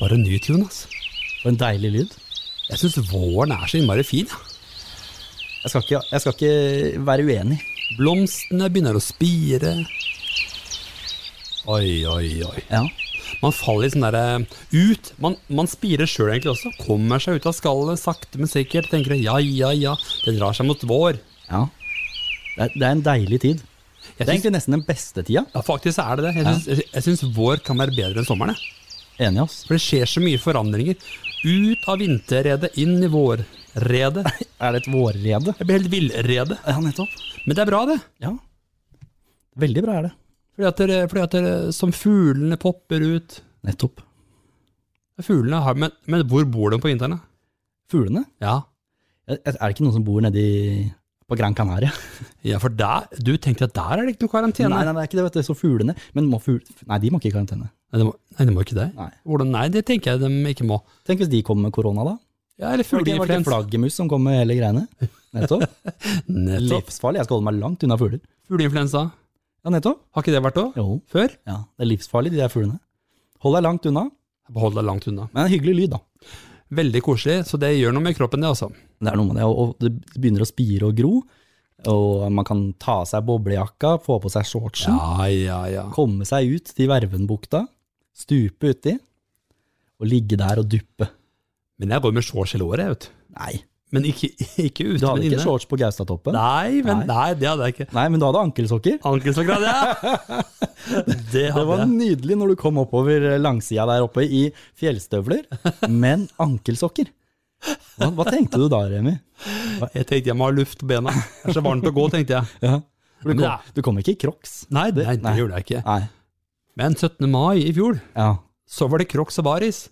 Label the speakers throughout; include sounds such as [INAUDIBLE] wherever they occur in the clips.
Speaker 1: var en ny tune, ass.
Speaker 2: For en deilig lyd.
Speaker 1: Jeg syns våren er så innmari fin. Ja.
Speaker 2: Jeg skal ikke, jeg skal ikke være uenig.
Speaker 1: Blomstene begynner å spire. Oi, oi, oi.
Speaker 2: Ja.
Speaker 1: Man faller sånn derre ut. Man, man spirer sjøl egentlig også. Kommer seg ut av skallet sakte, men sikkert. Tenker ja, ja, ja. Det drar seg mot vår.
Speaker 2: ja. Det, er, det er en deilig tid. Det er
Speaker 1: Jeg syns,
Speaker 2: egentlig nesten den beste tida.
Speaker 1: ja, faktisk er det det. Jeg syns, jeg syns vår kan være bedre enn sommeren. jeg.
Speaker 2: Enig, ass.
Speaker 1: For det skjer så mye forandringer. Ut av vinterredet, inn i vårredet.
Speaker 2: Er det et vårrede?
Speaker 1: [LAUGHS] Jeg blir helt villrede.
Speaker 2: Ja, nettopp.
Speaker 1: Men det er bra, det.
Speaker 2: Ja. Veldig bra er det.
Speaker 1: Fordi at, det- fordi at det- som fuglene popper ut
Speaker 2: Nettopp.
Speaker 1: Fuglene har Men, men hvor bor de på vinteren, da?
Speaker 2: Fuglene?
Speaker 1: Ja.
Speaker 2: Er er det ikke noen som bor nedi på Gran Canaria?
Speaker 1: Ja, for der, du tenkte at der er det ikke noe karantene?
Speaker 2: Nei,
Speaker 1: Nei,
Speaker 2: [LAUGHS] nei, det er ikke det, vet du. Så fuglene Men må fugl... Nei, de må ikke i karantene.
Speaker 1: det må, nei, det må ikke det.
Speaker 2: Nei.
Speaker 1: Hvordan, nei, det tenker jeg de ikke må.
Speaker 2: Tenk hvis de kom med korona, da.
Speaker 1: Ja, eller
Speaker 2: Var det ikke- var det ikke en
Speaker 1: fugleinfluens.
Speaker 2: flaggermus som kom med hele greiene? [LAUGHS] Nettopp.
Speaker 1: Nettopp.
Speaker 2: livsfarlig. Jeg skal holde meg langt unna fugler.
Speaker 1: Fugleinfluensa.
Speaker 2: Ja, nettopp.
Speaker 1: Har ikke det vært òg?
Speaker 2: Jo.
Speaker 1: Før?
Speaker 2: Ja, det er livsfarlig, de der fuglene. Hold deg langt unna,
Speaker 1: Behold deg langt unna.
Speaker 2: men en hyggelig lyd, da.
Speaker 1: Veldig koselig, så det gjør noe med kroppen, det, altså.
Speaker 2: Det er noe med det, og og det begynner å spire og gro, og man kan ta av seg boblejakka, få på seg shortsen,
Speaker 1: Ja, ja, ja.
Speaker 2: komme seg ut til Vervenbukta, stupe uti, og ligge der og duppe.
Speaker 1: Men jeg går med shorts hele året, jeg, vet du.
Speaker 2: Nei,
Speaker 1: Men ikke, [LAUGHS] ikke ute,
Speaker 2: du hadde
Speaker 1: men
Speaker 2: ikke
Speaker 1: inne.
Speaker 2: shorts på Gaustatoppen?
Speaker 1: Nei, men,
Speaker 2: Nei.
Speaker 1: nei, det hadde jeg ikke.
Speaker 2: Nei, men du hadde ankelsokker.
Speaker 1: Ankelsokker hadde
Speaker 2: [LAUGHS]
Speaker 1: jeg! Det
Speaker 2: Det
Speaker 1: hadde
Speaker 2: var
Speaker 1: jeg.
Speaker 2: nydelig når du kom oppover eh, langsida der oppe i fjellstøvler, men ankelsokker. Hva, hva tenkte du da, Remi?
Speaker 1: Jeg tenkte jeg må ha luft på bena. Det er så varmt å gå, tenkte jeg.
Speaker 2: Ja. Du,
Speaker 1: Men
Speaker 2: kom,
Speaker 1: det er-
Speaker 2: du kom ikke i crocs?
Speaker 1: Nei, det, nei, det
Speaker 2: Nei.
Speaker 1: gjorde jeg ikke.
Speaker 2: Nei.
Speaker 1: Men 17. mai i fjor,
Speaker 2: Ja.
Speaker 1: så var det Crocs og Baris.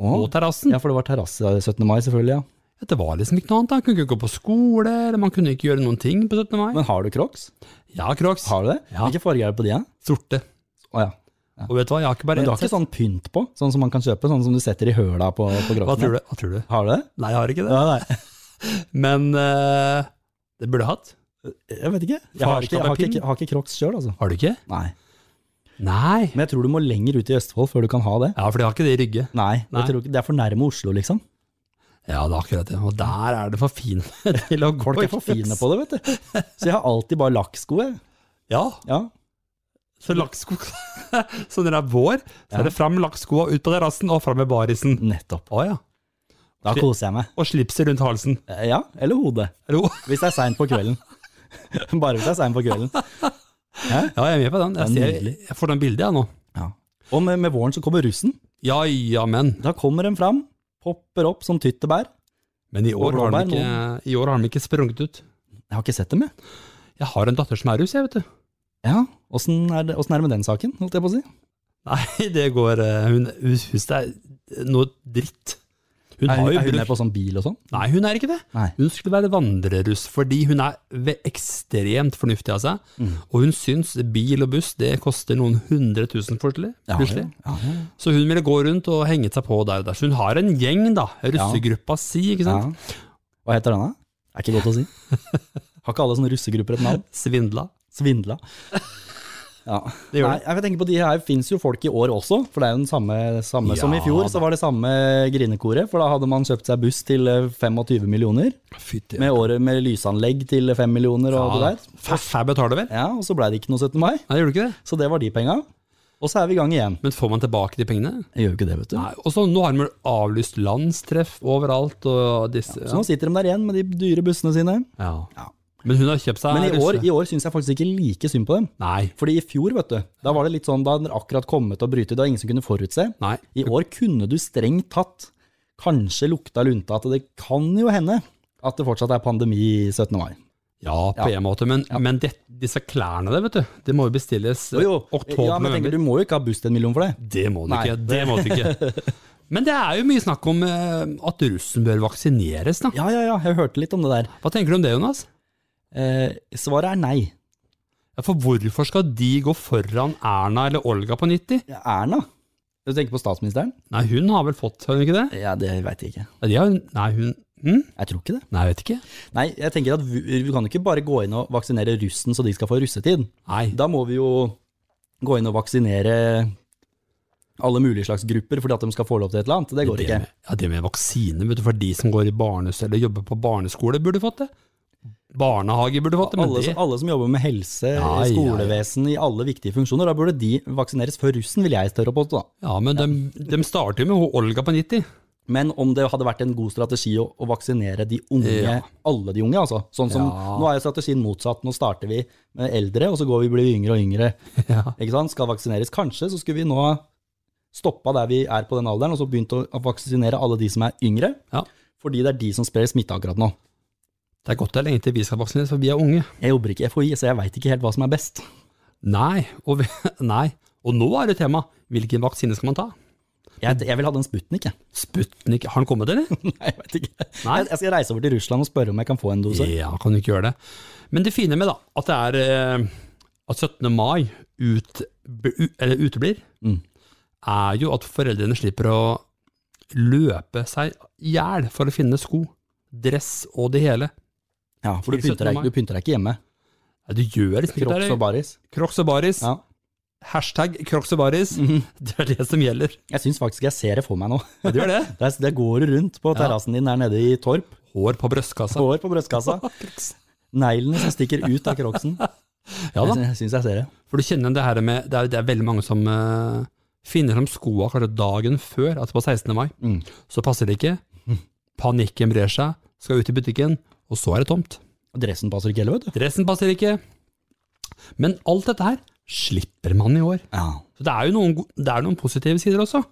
Speaker 2: Å,
Speaker 1: på terrassen.
Speaker 2: ja, for det var terrasse 17. mai, selvfølgelig. ja.
Speaker 1: Det var liksom ikke noe annet. Man kunne ikke gå på skole, eller man kunne ikke gjøre noen ting på 17. mai.
Speaker 2: Men har du crocs?
Speaker 1: Ja, Crocs.
Speaker 2: Har du det?
Speaker 1: Ja.
Speaker 2: Hvilke farger er det på de? Ja?
Speaker 1: Sorte.
Speaker 2: Å, ja.
Speaker 1: Og vet du hva, jeg har ikke bare
Speaker 2: Men du
Speaker 1: ett
Speaker 2: har ikke
Speaker 1: sett.
Speaker 2: sånn pynt på, sånn som man kan kjøpe, sånn som du setter i høla på, på
Speaker 1: Hva
Speaker 2: grotten?
Speaker 1: tror du? Hva tror du?
Speaker 2: Har du det?
Speaker 1: Nei, jeg har ikke det.
Speaker 2: Ja, nei.
Speaker 1: Men eh, det burde jeg hatt.
Speaker 2: Jeg vet ikke. Jeg har ikke, jeg har ikke, har ikke crocs sjøl, altså.
Speaker 1: Har du ikke?
Speaker 2: Nei.
Speaker 1: Nei.
Speaker 2: Men jeg tror du må lenger ut i Østfold før du kan ha det.
Speaker 1: Ja, for jeg har ikke det i Rygge.
Speaker 2: Nei,
Speaker 1: Nei.
Speaker 2: Jeg tror ikke, det er for nærme Oslo, liksom.
Speaker 1: Ja, det er akkurat det. Og der er det for fine til å gå
Speaker 2: Folk
Speaker 1: i
Speaker 2: er for
Speaker 1: Crocs.
Speaker 2: fine på det, vet du. Så jeg har alltid bare lakksko, jeg.
Speaker 1: [LAUGHS] Ja,
Speaker 2: Ja.
Speaker 1: så lakksko. [LAUGHS] så når det er vår, så
Speaker 2: Ja. Mm.
Speaker 1: er det fram med lakkskoa, ut på terrassen og fram med barisen.
Speaker 2: Nettopp.
Speaker 1: Å ja.
Speaker 2: Da koser jeg meg.
Speaker 1: Og slipset rundt halsen.
Speaker 2: Ja, eller hodet.
Speaker 1: Hallo?
Speaker 2: Hvis det er seint på kvelden. [LAUGHS] Bare hvis det er seint på kvelden.
Speaker 1: Ja, jeg er med på den.
Speaker 2: Det er
Speaker 1: Jeg, ser,
Speaker 2: nydelig.
Speaker 1: jeg får den bildet, jeg nå.
Speaker 2: Ja. Og med, med våren så kommer russen.
Speaker 1: Ja, ja, men.
Speaker 2: Da kommer den fram, popper opp som tyttebær.
Speaker 1: Men i år, har de
Speaker 2: blåbær,
Speaker 1: ikke, i år har de ikke sprunget ut.
Speaker 2: Jeg har ikke sett dem, jeg.
Speaker 1: Jeg har en datter som er russ, jeg, vet du. [LAUGHS]
Speaker 2: Ja, Åssen er, det- hvordan er det med den saken, holdt jeg på å si?
Speaker 1: Nei, det går eh, Hun hun syns det er noe dritt. Hun
Speaker 2: Er,
Speaker 1: har jo
Speaker 2: er hun med
Speaker 1: brukt
Speaker 2: på sånn bil og sånn?
Speaker 1: Nei, hun er ikke det.
Speaker 2: Nei.
Speaker 1: Hun skulle være vandreruss, fordi hun er ve- ekstremt fornuftig av seg.
Speaker 2: Mm.
Speaker 1: Og hun syns bil og buss det koster noen hundre tusen plutselig.
Speaker 2: Ja,
Speaker 1: plutselig.
Speaker 2: ja, ja,
Speaker 1: Så hun ville gå rundt og henge seg på der og der. Så hun har en gjeng, da. Russegruppa si, ikke
Speaker 2: ja.
Speaker 1: sant.
Speaker 2: Hva heter den, da? Er ikke godt
Speaker 1: [LAUGHS]
Speaker 2: å si. Har ikke alle sånne russegrupper et navn?
Speaker 1: Svindla.
Speaker 2: Svindla. Ja.
Speaker 1: Det gjør
Speaker 2: Nei, jeg tenker på de her finnes jo folk i år også, for det er jo den samme, samme som i
Speaker 1: Ja,
Speaker 2: fjor.
Speaker 1: da.
Speaker 2: Så var det samme grinekoret, for da hadde man kjøpt seg buss til eh, 25 millioner,
Speaker 1: Fytti.
Speaker 2: med året med lysanlegg til 5 millioner og det der.
Speaker 1: Faffa betaler vel?
Speaker 2: Ja, og så ble det ikke noe 17. mai,
Speaker 1: Nei, gjør du ikke det?
Speaker 2: så det var de penga. Og så er vi i gang igjen.
Speaker 1: Men får man tilbake de pengene?
Speaker 2: Jeg gjør jo ikke det, vet du.
Speaker 1: Nei, og så nå har de vel avlyst landstreff overalt og disse
Speaker 2: Så
Speaker 1: ja.
Speaker 2: nå sitter de der igjen med de dyre bussene sine. sånn. Ja.
Speaker 1: Men hun har kjøpt seg
Speaker 2: Men i år,
Speaker 1: russe-
Speaker 2: i år syns jeg faktisk ikke like synd på dem.
Speaker 1: Nei.
Speaker 2: Fordi i fjor, vet du, da var det litt sånn, da hadde den akkurat kommet og brytet, det var ingen som kunne forutse.
Speaker 1: Nei.
Speaker 2: I år kunne du strengt tatt kanskje lukta lunta at det kan jo hende at det fortsatt er pandemi 17. mai.
Speaker 1: Ja, på en måte. Men, men det, disse klærne der, vet du, det må jo bestilles eh,
Speaker 2: ja, men tenker,
Speaker 1: oktober-november.
Speaker 2: du må jo ikke ha buss til en million for det.
Speaker 1: Det må du
Speaker 2: Nei.
Speaker 1: ikke. Det må du ikke.
Speaker 2: [LAUGHS]
Speaker 1: Men det er jo mye snakk om eh, at russen bør vaksineres, da.
Speaker 2: Ja, ja, ja, jeg hørte litt om det der.
Speaker 1: Hva tenker du om det, Jonas?
Speaker 2: Eh, svaret er nei.
Speaker 1: Ja, for hvorfor skal de gå foran Erna eller Olga på 90?
Speaker 2: Ja, Erna? Du tenker på statsministeren?
Speaker 1: Nei, hun har vel fått, har hun ikke det?
Speaker 2: Ja, det veit jeg ikke.
Speaker 1: Ja, de har, nei, hun hm?
Speaker 2: Jeg tror ikke det.
Speaker 1: Nei, jeg vet ikke.
Speaker 2: Nei, jeg tenker at vi, vi kan jo ikke bare gå inn og vaksinere russen så de skal få russetid.
Speaker 1: Nei.
Speaker 2: Da må vi jo gå inn og vaksinere alle mulige slags grupper fordi at de skal få lov til et eller annet. Det går
Speaker 1: Det
Speaker 2: ikke.
Speaker 1: med, ja, det med vaksine, vet du, for de som går i barnes eller jobber på barneskole, burde fått det. Barnehage burde fått det, men
Speaker 2: Alle som,
Speaker 1: det
Speaker 2: alle som jobber med helse,
Speaker 1: Ja, ja, ja.
Speaker 2: skolevesen, i alle viktige funksjoner, da burde de vaksineres før russen, vil jeg tørre å påstå. da.
Speaker 1: Ja, men de, de starter jo med hun Olga på 90.
Speaker 2: Men om det hadde vært en god strategi å, å vaksinere de unge,
Speaker 1: Ja.
Speaker 2: alle de unge, altså. Sånn som,
Speaker 1: Ja.
Speaker 2: Nå er jo strategien motsatt. Nå starter vi med eldre, og så går vi blir vi yngre og yngre.
Speaker 1: [LAUGHS] Ja.
Speaker 2: Ikke sant? Skal vaksineres. Kanskje så skulle vi nå stoppa der vi er på den alderen, og så begynt å vaksinere alle de som er yngre.
Speaker 1: Ja.
Speaker 2: Fordi det er de som sprer smitte akkurat nå.
Speaker 1: Det er godt det er lenge til vi skal vaksineres, for vi er unge.
Speaker 2: Jeg jobber ikke i FHI, så jeg veit ikke helt hva som er best.
Speaker 1: Nei, og, vi, [LAUGHS] nei. og nå er det tema. Hvilken vaksine skal man ta?
Speaker 2: Jeg, jeg vil ha den Sputnik, jeg. [LAUGHS]
Speaker 1: Sputnik, har den kommet, eller?
Speaker 2: Nei, jeg vet ikke.
Speaker 1: Nei.
Speaker 2: Jeg, jeg skal reise over til Russland og spørre om jeg kan få en dose.
Speaker 1: Ja, kan du ikke gjøre det. Men det fine med da, at det er eh, at 17. mai ut, be- u- eller uteblir,
Speaker 2: Mm.
Speaker 1: er jo at foreldrene slipper å løpe seg i hjel for å finne sko, dress og det hele.
Speaker 2: Ja, For du
Speaker 1: Til
Speaker 2: pynter,
Speaker 1: 17.
Speaker 2: deg,
Speaker 1: mai.
Speaker 2: du pynter deg ikke hjemme.
Speaker 1: Ja, du gjør liksom ikke det.
Speaker 2: Crocs og baris.
Speaker 1: Crocs og baris.
Speaker 2: Ja. Mhm.
Speaker 1: Hashtag crocs og baris. [LAUGHS] Det er det som gjelder.
Speaker 2: Jeg syns faktisk jeg ser det for meg nå.
Speaker 1: Ja, du gjør det.
Speaker 2: [LAUGHS] Der, der går du rundt på terrassen din der nede i Torp.
Speaker 1: Hår på brystkassa.
Speaker 2: Hår på brystkassa. Neglene som stikker ut av crocsen.
Speaker 1: [LAUGHS] Ja da,
Speaker 2: Jeg syns jeg ser det.
Speaker 1: for du kjenner det her med, det er, det er veldig mange som eh, finner fram skoa kanskje dagen før, altså på 16. mai.
Speaker 2: Mm.
Speaker 1: så passer det ikke. Panikken brer seg, skal ut i butikken, og så er det tomt.
Speaker 2: Og dressen passer ikke heller, vet du.
Speaker 1: Dressen passer ikke. Men alt dette her slipper man i år.
Speaker 2: Ja,
Speaker 1: Så det er jo noen, go- det er noen positive sider også,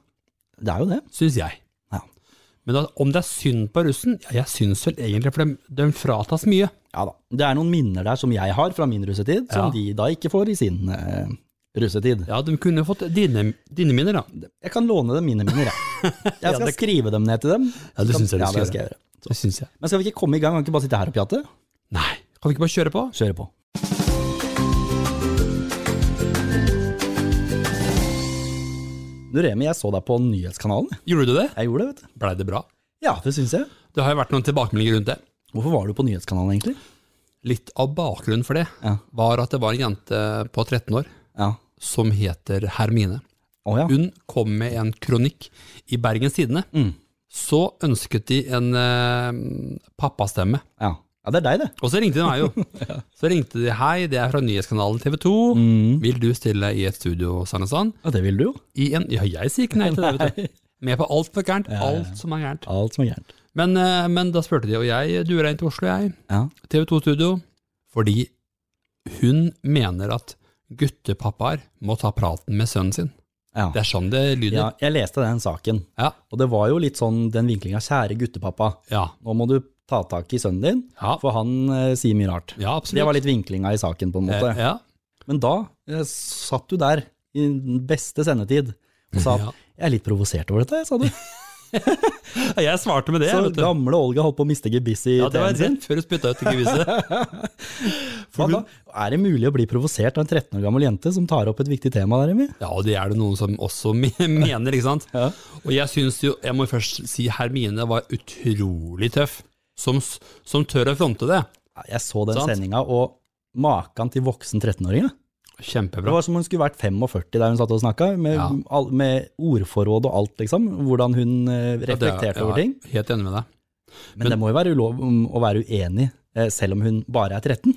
Speaker 2: Det er jo det.
Speaker 1: syns jeg.
Speaker 2: Ja.
Speaker 1: Men at- om det er synd på russen, ja, jeg syns vel egentlig, for de, de fratas mye.
Speaker 2: Ja da. Det er noen minner der som jeg har fra min russetid,
Speaker 1: Ja.
Speaker 2: som de da ikke får i sin eh, russetid.
Speaker 1: Ja, de kunne fått dine, dine minner, da.
Speaker 2: Jeg kan låne dem mine
Speaker 1: [LAUGHS]
Speaker 2: minner, jeg. Jeg skal
Speaker 1: det-
Speaker 2: skrive dem ned til dem.
Speaker 1: Ja, det syns jeg du
Speaker 2: ja,
Speaker 1: skal
Speaker 2: det skal
Speaker 1: gjøre.
Speaker 2: jeg gjøre.
Speaker 1: Det syns jeg.
Speaker 2: Men skal vi ikke komme i gang? Kan vi ikke bare sitte her og pjatte?
Speaker 1: Nei, kan vi ikke bare kjøre på?
Speaker 2: Kjøre på. Du Remi, jeg så deg på nyhetskanalen.
Speaker 1: Gjorde du det?
Speaker 2: Jeg gjorde det, vet du.
Speaker 1: Blei det bra?
Speaker 2: Ja, det syns jeg.
Speaker 1: Det har jo vært noen tilbakemeldinger rundt det.
Speaker 2: Hvorfor var du på nyhetskanalen, egentlig?
Speaker 1: Litt av bakgrunnen for det
Speaker 2: Ja.
Speaker 1: var at det var en jente på 13 år
Speaker 2: Ja.
Speaker 1: som heter Hermine.
Speaker 2: Å ja.
Speaker 1: Hun kom med en kronikk i Bergens Tidende.
Speaker 2: Mm.
Speaker 1: Så ønsket de en eh, pappastemme.
Speaker 2: ja. Ja, det er deg, det.
Speaker 1: Og så ringte de meg,
Speaker 2: [LAUGHS]
Speaker 1: jo. Så ringte de hei, det er fra nyhetskanalen TV 2. Vil du stille i et studio, sånn og sånn?
Speaker 2: Mm. Ja, det vil du jo.
Speaker 1: I en Ja, jeg sier ikke nei til det, vet du. Med på alt for gærent.
Speaker 2: ja, ja.
Speaker 1: Alt som er gærent.
Speaker 2: Alt som er gærent.
Speaker 1: Men, eh, men da spurte de, og jeg duer inn til Oslo, jeg.
Speaker 2: Ja.
Speaker 1: TV 2 Studio. Fordi hun mener at guttepappaer må ta praten med sønnen sin.
Speaker 2: Ja.
Speaker 1: Det er sånn det
Speaker 2: ja.
Speaker 1: lyder.
Speaker 2: Jeg leste den saken,
Speaker 1: Ja.
Speaker 2: og det var jo litt sånn den vinklinga 'kjære guttepappa',
Speaker 1: Ja.
Speaker 2: nå må du ta tak i sønnen din,
Speaker 1: Ja.
Speaker 2: for han eh, sier mye rart.
Speaker 1: ja
Speaker 2: Det
Speaker 1: absolutt.
Speaker 2: var litt vinklinga i saken, på en
Speaker 1: Eh,
Speaker 2: måte.
Speaker 1: ja.
Speaker 2: Men da eh, satt du der i den beste sendetid og sa
Speaker 1: [LAUGHS]
Speaker 2: at
Speaker 1: Ja.
Speaker 2: jeg er litt provosert over
Speaker 1: [LAUGHS]
Speaker 2: dette, sa du.
Speaker 1: Jeg svarte med det.
Speaker 2: Så
Speaker 1: vet du.
Speaker 2: gamle Olga holdt på å miste gebisset i
Speaker 1: Ja, det var
Speaker 2: TV-en sin.
Speaker 1: rett før du spytta ut i
Speaker 2: [LAUGHS]
Speaker 1: gevisset.
Speaker 2: Hva da? Er det mulig å bli provosert av en 13 år gammel jente som tar opp et viktig tema der, Emil?
Speaker 1: Ja, og det er det noen som også me- [LAUGHS] mener, ikke sant.
Speaker 2: Ja.
Speaker 1: Og jeg syns jo, jeg må først si Hermine var utrolig tøff, som, s- som tør å fronte det.
Speaker 2: Ja, Jeg så den
Speaker 1: Sant.
Speaker 2: sendinga, og makan til voksen 13-åring, ja. Det
Speaker 1: Kjempebra.
Speaker 2: var som om hun skulle vært 45 der hun satt og snakka, med,
Speaker 1: Ja.
Speaker 2: all- med ordforråd og alt, liksom. Hvordan hun eh,
Speaker 1: Ja, det er-
Speaker 2: reflekterte over
Speaker 1: ja,
Speaker 2: ting.
Speaker 1: Helt enig med deg.
Speaker 2: Men, det må jo være ulov om å være uenig, eh, selv om hun bare er 13.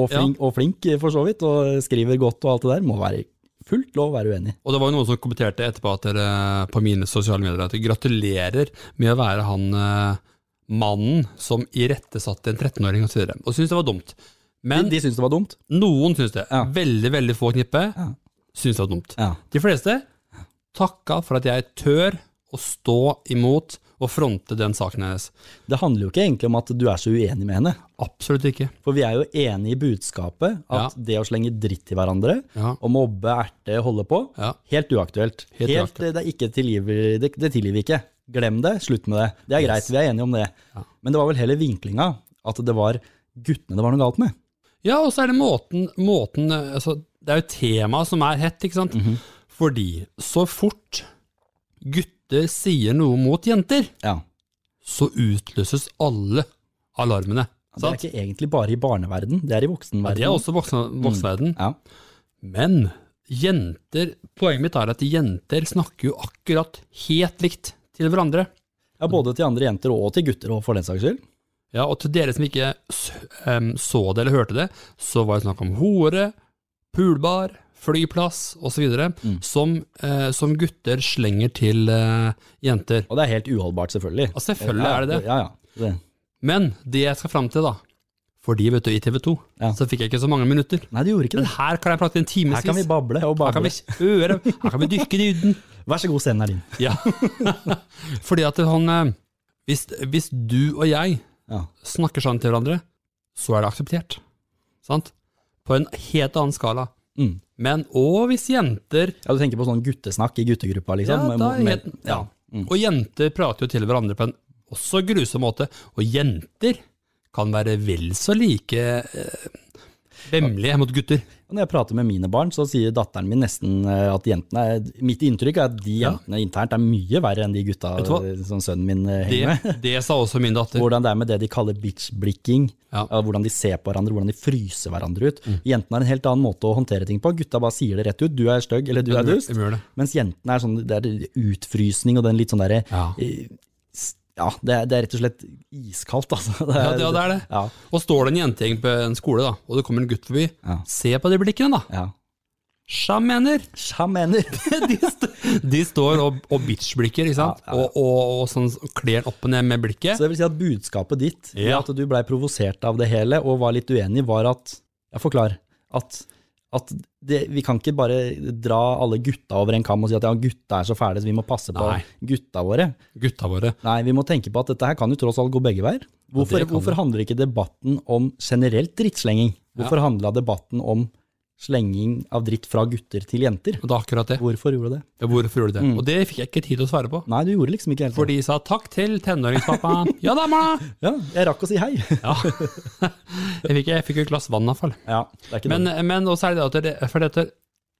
Speaker 2: Og flink, og flink eh, for så vidt, og skriver godt og alt det der. Må være fullt lov å være uenig.
Speaker 1: Og det var jo noen som kommenterte etterpå at dere, på mine sosiale medier at dere gratulerer med å være han eh, mannen som irettesatte en 13-åring osv. Og syntes det var dumt.
Speaker 2: De,
Speaker 1: Men
Speaker 2: de syns det var dumt.
Speaker 1: noen syns det.
Speaker 2: Ja.
Speaker 1: Veldig, veldig få knippe
Speaker 2: Ja.
Speaker 1: syns det var dumt.
Speaker 2: Ja.
Speaker 1: De fleste takka for at jeg tør å stå imot og fronte den saken hennes.
Speaker 2: Det handler jo ikke egentlig om at du er så uenig med henne,
Speaker 1: Absolutt ikke.
Speaker 2: for vi er jo enige i budskapet at det å slenge dritt til hverandre,
Speaker 1: Ja.
Speaker 2: å mobbe, erte, holde på,
Speaker 1: Ja.
Speaker 2: helt uaktuelt.
Speaker 1: Helt
Speaker 2: Helt, eh, Det, er ikke tilgiver, det, det tilgir vi ikke. Glem det, slutt med det. Det er greit, vi er enige om det. Men det var vel heller vinklinga, at det var guttene det var noe galt med.
Speaker 1: Ja, og så er det måten, måten eh, altså, Det er jo temaet som er hett, ikke sant?
Speaker 2: Mhm.
Speaker 1: Fordi så fort gutter sier noe mot jenter,
Speaker 2: Ja.
Speaker 1: så utløses alle alarmene.
Speaker 2: Ja,
Speaker 1: Sant?
Speaker 2: Det er ikke egentlig bare i barneverden, det er i voksenverden.
Speaker 1: Det er også voksen, voksenverden.
Speaker 2: Ja.
Speaker 1: Men jenter Poenget mitt er at jenter snakker jo akkurat helt likt til hverandre.
Speaker 2: Ja, både til andre jenter og til gutter, og for den saks skyld.
Speaker 1: Ja, og til dere som ikke s- em, så det eller hørte det, så var det snakk om hore, pulbar, flyplass osv.,
Speaker 2: Mm.
Speaker 1: som, eh, som gutter slenger til eh, jenter.
Speaker 2: Og det er helt uholdbart, selvfølgelig.
Speaker 1: Og selvfølgelig er det det.
Speaker 2: Ja, ja. det.
Speaker 1: Men det jeg skal fram til, da Fordi, vet du, i TV 2
Speaker 2: Ja.
Speaker 1: så fikk jeg ikke så mange minutter.
Speaker 2: Nei, det gjorde ikke
Speaker 1: Men
Speaker 2: det.
Speaker 1: her kan jeg prate en
Speaker 2: Her kan vi
Speaker 1: timevis.
Speaker 2: bable og
Speaker 1: Her kan
Speaker 2: bable.
Speaker 1: vi høre, her kan vi dykke i dybden.
Speaker 2: Vær så god, scenen er din.
Speaker 1: Ja. Fordi at han eh, hvis, hvis du og jeg
Speaker 2: Ja.
Speaker 1: snakker sånn til hverandre, så er det akseptert. Sant? På en helt annen skala.
Speaker 2: Mm.
Speaker 1: Men òg hvis jenter
Speaker 2: Ja, Du tenker på sånn guttesnakk i guttegruppa,
Speaker 1: ja,
Speaker 2: liksom?
Speaker 1: da, er
Speaker 2: Med-
Speaker 1: helt, ja. Og jenter prater jo til hverandre på en også grusom måte. Og jenter kan være vel så like eh, vemmelige mot gutter.
Speaker 2: Og Når jeg prater med mine barn, så sier datteren min nesten eh, at jentene er, Mitt inntrykk er at de
Speaker 1: Ja.
Speaker 2: jentene internt er mye verre enn de gutta
Speaker 1: Vet du hva?
Speaker 2: eh, som sønnen min eh, henger
Speaker 1: Det,
Speaker 2: med.
Speaker 1: det sa også min datter.
Speaker 2: Hvordan det er med det de kaller bitch-blikking.
Speaker 1: Ja. Mm.
Speaker 2: eh, Hvordan de ser på hverandre, hvordan de fryser hverandre ut. Jentene har en helt annen måte å håndtere ting på. Gutta bare sier det rett ut. Du er stygg, eller du er dust.
Speaker 1: Gjør det.
Speaker 2: Mens jentene er sånn Det er utfrysning og den litt sånn derre
Speaker 1: Ja.
Speaker 2: eh, s- Ja, det er, det er rett og slett iskaldt, altså. [LAUGHS] Det
Speaker 1: Ja, det, ja, det er det.
Speaker 2: Ja,
Speaker 1: Og står det en jentegjeng på en skole, da, og det kommer en gutt forbi,
Speaker 2: Ja.
Speaker 1: se på de blikkene, da.
Speaker 2: ja.
Speaker 1: Sjam mener!
Speaker 2: Tja, mener!
Speaker 1: De, st de står og, og bitch-blikker, ikke sant?
Speaker 2: Ja, ja, ja.
Speaker 1: Og, og, og sånn kler opp og ned med blikket.
Speaker 2: Så det vil si at budskapet ditt, ved
Speaker 1: Ja.
Speaker 2: at du blei provosert av det hele og var litt uenig, var at Ja, forklar. At, at det, vi kan ikke bare dra alle gutta over en kam og si at ja, gutta er så fæle, så vi må passe på
Speaker 1: Nei.
Speaker 2: gutta våre.
Speaker 1: Gutta våre.
Speaker 2: Nei, vi må tenke på at dette her kan jo tross alt gå begge veier. Hvorfor,
Speaker 1: det kan
Speaker 2: hvorfor handler ikke debatten om generelt drittslenging? Hvorfor handla debatten om slenging av dritt fra gutter til jenter?
Speaker 1: Og det er akkurat det.
Speaker 2: Hvorfor gjorde det?
Speaker 1: Ja, Hvorfor gjorde du det?
Speaker 2: Mm.
Speaker 1: Og det fikk jeg ikke tid til å svare på.
Speaker 2: Nei, du gjorde liksom ikke helt
Speaker 1: For
Speaker 2: det.
Speaker 1: de sa takk til tenåringspappa.
Speaker 2: [LAUGHS]
Speaker 1: Ja da, Marna!
Speaker 2: Ja, jeg rakk å si hei. [LAUGHS]
Speaker 1: Ja. Jeg fikk, jeg fikk jo et glass vann, iallfall.
Speaker 2: Ja, det er ikke
Speaker 1: Men, eh,
Speaker 2: det.
Speaker 1: men også er det at det, for dette,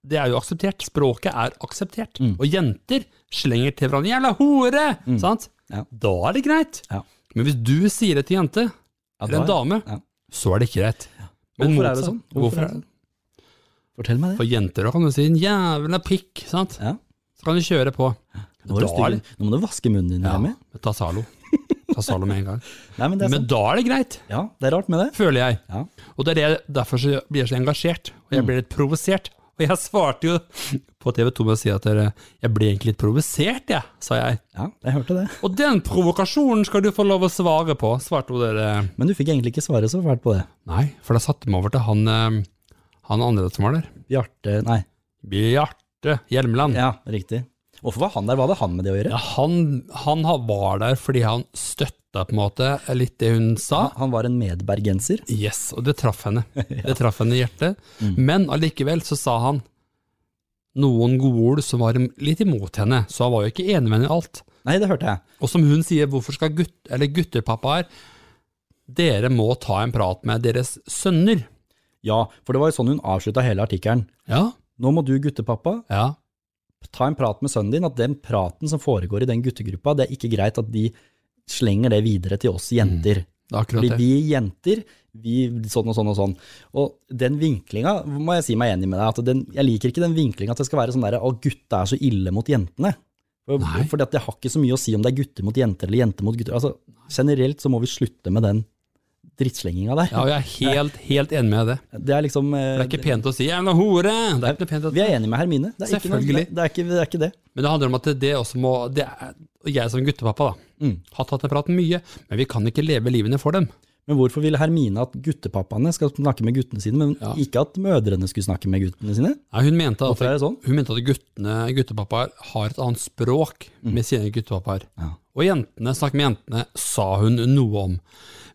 Speaker 1: det er jo akseptert. Språket er akseptert.
Speaker 2: Mm.
Speaker 1: Og jenter slenger til hverandre 'jævla hore'! Sant?
Speaker 2: Ja.
Speaker 1: Da er det greit.
Speaker 2: Ja.
Speaker 1: Men hvis du sier det til en jente,
Speaker 2: Ja,
Speaker 1: eller en
Speaker 2: da-
Speaker 1: dame,
Speaker 2: ja.
Speaker 1: så er det ikke greit. Men
Speaker 2: Hvorfor er det
Speaker 1: motsatt-
Speaker 2: sånn?
Speaker 1: Hvorfor, er det?
Speaker 2: Fortell meg det.
Speaker 1: For jenter da kan du si 'en jævla pikk', sant?
Speaker 2: Ja.
Speaker 1: Så kan du kjøre på.
Speaker 2: Nå, er du
Speaker 1: Da
Speaker 2: stygg.
Speaker 1: er det-
Speaker 2: Nå må du vaske munnen din. Remi.
Speaker 1: Ta Zalo. Ta Zalo med en gang.
Speaker 2: Nei, men [LAUGHS] det er
Speaker 1: Men
Speaker 2: sant.
Speaker 1: da er det greit,
Speaker 2: Ja, det er rart med det.
Speaker 1: føler jeg.
Speaker 2: Ja. Mm.
Speaker 1: Og det er det, derfor så blir jeg så engasjert, og jeg blir litt provosert. Og jeg svarte jo på TV 2 med å si at dere, jeg ble egentlig litt provosert, jeg, sa jeg.
Speaker 2: Ja, jeg hørte det.
Speaker 1: Og den provokasjonen skal du få lov å svare på, svarte hun dere.
Speaker 2: Men du fikk egentlig ikke svare så fælt på det.
Speaker 1: Nei, for da satte de meg over til han, eh, han andre som var der.
Speaker 2: Bjarte Nei.
Speaker 1: Bjarte Hjelmeland.
Speaker 2: Ja, riktig. Hvorfor var han der? Hva hadde han med det å gjøre?
Speaker 1: Ja, han, han ha- var der fordi han støtta på en måte litt det hun sa.
Speaker 2: Han var en medbergenser.
Speaker 1: Yes, og det traff henne. Det traff henne i hjertet. Men allikevel så sa han noen gode ord som var litt imot henne, så han var jo ikke enig med henne i alt.
Speaker 2: Nei, det hørte jeg.
Speaker 1: Og som hun sier, hvorfor skal gutt, eller guttepappaer Dere må ta en prat med deres sønner.
Speaker 2: Ja, for det var jo sånn hun avslutta hele artikkelen.
Speaker 1: Ja,
Speaker 2: Nå må du, guttepappa,
Speaker 1: ja.
Speaker 2: ta en prat med sønnen din, at den praten som foregår i den guttegruppa, det er ikke greit at de slenger det videre til oss jenter.
Speaker 1: Det er akkurat
Speaker 2: Fordi
Speaker 1: det.
Speaker 2: vi jenter, vi sånn og sånn og sånn. Og den vinklinga, må jeg si meg enig med deg, at den, jeg liker ikke den vinklinga at det skal være sånn der å gutta er så ille mot jentene. For,
Speaker 1: Nei.
Speaker 2: fordi at det har ikke så mye å si om det er gutter mot jenter eller jenter mot gutter. Altså, generelt så må vi slutte med den drittslenginga der.
Speaker 1: Ja, og jeg er helt, helt enig med det.
Speaker 2: Det er liksom eh,
Speaker 1: Det er ikke pent å si 'jævla hore'. Det er ikke noe pent å
Speaker 2: Vi er enige med Hermine. Det er Ikke noe,
Speaker 1: Selvfølgelig.
Speaker 2: det, det, er ikke, det er ikke det.
Speaker 1: Men det handler om at det, det også må det er, Og jeg som guttepappa da,
Speaker 2: Mm.
Speaker 1: har tatt den praten mye, men vi kan ikke leve livene for dem.
Speaker 2: Men hvorfor ville Hermine at guttepappaene skal snakke med guttene sine, men
Speaker 1: Ja.
Speaker 2: ikke at mødrene skulle snakke med guttene sine?
Speaker 1: Nei, hun mente at
Speaker 2: Hvorfor er det sånn?
Speaker 1: Hun mente at guttene, guttepappaer har et annet språk med sine guttepappaer.
Speaker 2: Mm. Ja.
Speaker 1: Og jentene, snakk med jentene, sa hun noe om.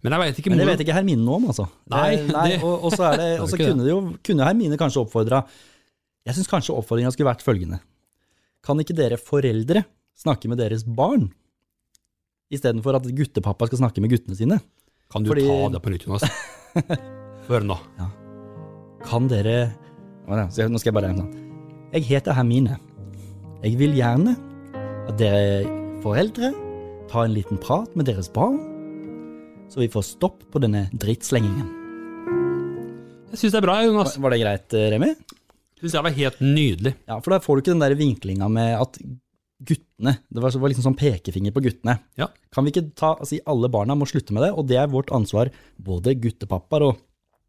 Speaker 1: Men jeg veit ikke
Speaker 2: Men det
Speaker 1: hvordan-
Speaker 2: vet ikke Hermine noe om, altså.
Speaker 1: Nei,
Speaker 2: Eh, nei
Speaker 1: det-
Speaker 2: Og, og så, er det, og så
Speaker 1: ikke det.
Speaker 2: kunne, det jo, kunne Hermine kanskje oppfordra Jeg syns kanskje oppfordringa skulle vært følgende. Kan ikke dere foreldre snakke med deres barn? Istedenfor at guttepappa skal snakke med guttene sine.
Speaker 1: Kan du
Speaker 2: fordi-
Speaker 1: ta det på nytt,
Speaker 2: [LAUGHS]
Speaker 1: Jonas? Hør nå.
Speaker 2: Kan dere Hva da? Så jeg- Nå skal jeg bare sånn. Jeg heter Hermine. Jeg vil gjerne at dere foreldre tar en liten prat med deres barn, så vi får stopp på denne drittslengingen.
Speaker 1: Jeg syns det er bra, Jonas.
Speaker 2: Var det greit, eh, Remi?
Speaker 1: Syns jeg var helt nydelig.
Speaker 2: Ja, for da får du ikke den der vinklinga med at guttene Det var, det var liksom sånn pekefinger på guttene.
Speaker 1: Ja.
Speaker 2: Kan vi ikke ta, si alle barna må slutte med det? Og det er vårt ansvar, både guttepappaer og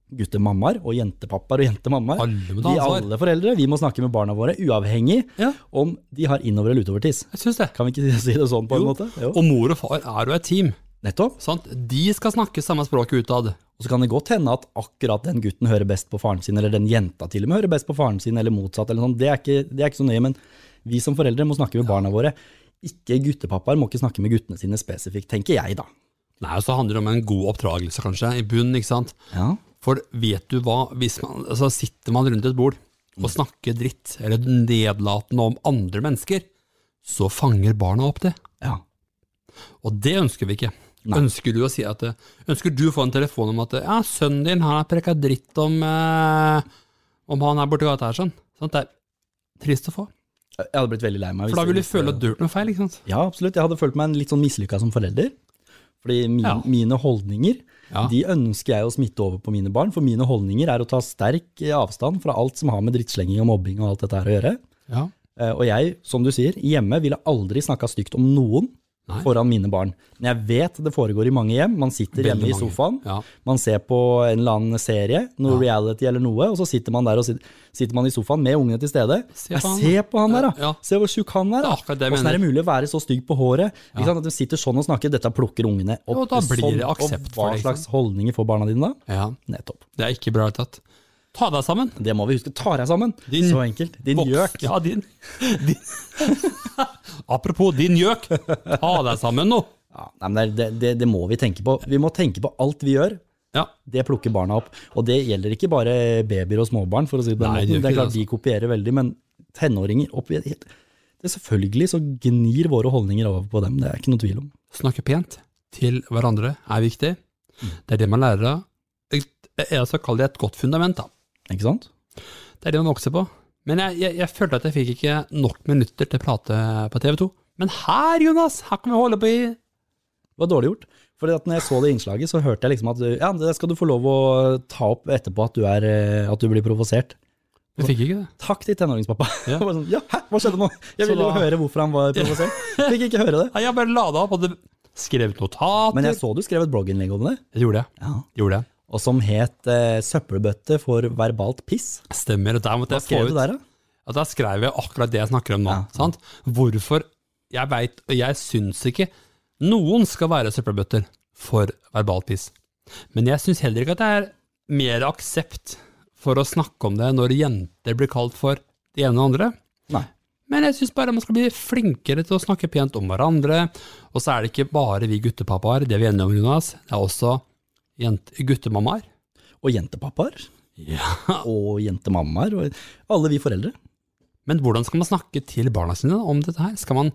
Speaker 2: guttemammaer, og jentepappaer og jentemammaer.
Speaker 1: Alle må ta
Speaker 2: Vi
Speaker 1: ansvar.
Speaker 2: alle foreldre vi må snakke med barna våre, uavhengig
Speaker 1: Ja.
Speaker 2: om de har innover- eller utovertiss.
Speaker 1: Jeg syns det.
Speaker 2: Kan vi ikke si det sånn på en
Speaker 1: Jo.
Speaker 2: måte? Jo.
Speaker 1: Og mor og far er jo et team.
Speaker 2: Nettopp.
Speaker 1: Sant? De skal snakke samme språket utad.
Speaker 2: Og så kan det godt hende at akkurat den gutten hører best på faren sin, eller den jenta til og med hører best på faren sin, eller motsatt. Eller sånn. det, er ikke, det er ikke så nøye, men vi som foreldre må snakke med barna våre. Ikke guttepappaer må ikke snakke med guttene sine spesifikt, tenker jeg da.
Speaker 1: Nei, og så handler det om en god oppdragelse, kanskje, i bunnen, ikke sant.
Speaker 2: Ja,
Speaker 1: For vet du hva, hvis man altså sitter man rundt et bord og snakker dritt eller nedlatende om andre mennesker, så fanger barna opp det.
Speaker 2: ja.
Speaker 1: Og det ønsker vi ikke. Ønsker du å si at eh, Ønsker du å få en telefon om at eh, ja, sønnen din han har prekka dritt om eh, om han er borti gata her, sånn. Sant? Det er trist å få.
Speaker 2: Jeg hadde blitt veldig lei meg. hvis
Speaker 1: For da vil du
Speaker 2: jeg visste-
Speaker 1: føle at du har gjort noe feil, ikke sant.
Speaker 2: Ja, absolutt. Jeg hadde følt meg en litt sånn mislykka som forelder. Fordi min,
Speaker 1: Ja.
Speaker 2: mine holdninger
Speaker 1: Ja.
Speaker 2: de ønsker jeg å smitte over på mine barn, for mine holdninger er å ta sterk eh, avstand fra alt som har med drittslenging og mobbing og alt dette her å gjøre.
Speaker 1: Ja.
Speaker 2: Eh, Og jeg, som du sier, hjemme ville aldri snakka stygt om noen
Speaker 1: Nei.
Speaker 2: foran mine barn. Men jeg vet det foregår i mange hjem. Man sitter
Speaker 1: Veldig
Speaker 2: hjemme i
Speaker 1: mange.
Speaker 2: sofaen,
Speaker 1: Ja.
Speaker 2: man ser på en eller annen serie, noe reality eller noe, og så sitter man der og sitter, sitter man i sofaen med ungene til stede.
Speaker 1: Se
Speaker 2: Ja,
Speaker 1: på han.
Speaker 2: Se på han der, da!
Speaker 1: Ja.
Speaker 2: Se hvor tjukk han er!
Speaker 1: Det er
Speaker 2: da.
Speaker 1: akkurat det jeg
Speaker 2: Åssen er det
Speaker 1: mener.
Speaker 2: mulig å være så stygg på håret? Ikke sant? At de sitter sånn og snakker, dette plukker ungene opp.
Speaker 1: Og da blir
Speaker 2: sånn,
Speaker 1: det aksept
Speaker 2: og
Speaker 1: for
Speaker 2: hva
Speaker 1: det, ikke
Speaker 2: slags holdninger får barna dine da?
Speaker 1: ja.
Speaker 2: Nettopp.
Speaker 1: Det er ikke bra i det hele tatt. Ta deg sammen.
Speaker 2: Det må vi huske. Tar jeg sammen!
Speaker 1: Din
Speaker 2: så enkelt. Din
Speaker 1: Voks-
Speaker 2: gjøk.
Speaker 1: Ja, din. din. [LAUGHS] Apropos din gjøk, ta deg sammen nå.
Speaker 2: Ja, nei, men det, det, det må vi tenke på. Vi må tenke på alt vi gjør.
Speaker 1: Ja,
Speaker 2: Det plukker barna opp. Og det gjelder ikke bare babyer og småbarn. for å si Det på den
Speaker 1: Nei, det gjør
Speaker 2: måten. Det er
Speaker 1: ikke
Speaker 2: klart
Speaker 1: det, altså.
Speaker 2: De kopierer veldig, men tenåringer opp i det er Selvfølgelig så gnir våre holdninger over på dem. Det er ikke noe tvil om.
Speaker 1: snakke pent til hverandre er viktig. Det er det man lærer av. Et- Jeg skal kalle det et godt fundament, da.
Speaker 2: Ikke sant?
Speaker 1: Det er det man vokser på. Men jeg, jeg, jeg følte at jeg fikk ikke nok minutter til å prate på TV 2. Men her, Jonas, her kan vi holde på i
Speaker 2: Det var dårlig gjort. For at når jeg så det innslaget, så hørte jeg liksom at ja, det skal du få lov å ta opp etterpå at du, er, eh, at du blir provosert.
Speaker 1: Vi fikk ikke det.
Speaker 2: Takk til tenåringspappa.
Speaker 1: Ja.
Speaker 2: Ja. [LAUGHS] Bare sånn, ja, hæ, hva skjedde nå? Jeg
Speaker 1: Så
Speaker 2: ville jo
Speaker 1: da-
Speaker 2: høre hvorfor han var provosert. Fikk ikke høre det.
Speaker 1: [LAUGHS] Nei, Jeg bare lada opp, hadde skrevet notater.
Speaker 2: Men jeg så du skrev et blogginnlegg om det.
Speaker 1: Det gjorde jeg.
Speaker 2: Ja.
Speaker 1: Gjorde jeg.
Speaker 2: og som het eh, 'Søppelbøtte for verbalt piss'.
Speaker 1: Stemmer. og Der måtte
Speaker 2: Hva
Speaker 1: jeg få
Speaker 2: skrev
Speaker 1: ut
Speaker 2: du der, da?
Speaker 1: at der skrev jeg akkurat det jeg snakker om nå.
Speaker 2: Ja.
Speaker 1: Sant? Hvorfor jeg veit, og jeg syns ikke noen skal være søppelbøtter for verbal piss. Men jeg syns heller ikke at det er mer aksept for å snakke om det når jenter blir kalt for det ene og det andre.
Speaker 2: Nei.
Speaker 1: Men jeg syns bare man skal bli flinkere til å snakke pent om hverandre. Og så er det ikke bare vi guttepappaer, det er vi enige om, Jonas. Det er også jent- guttemammaer.
Speaker 2: Og jentepappaer.
Speaker 1: Ja.
Speaker 2: Og jentemammaer. Og alle vi foreldre.
Speaker 1: Men hvordan skal man snakke til barna sine om dette her? Skal man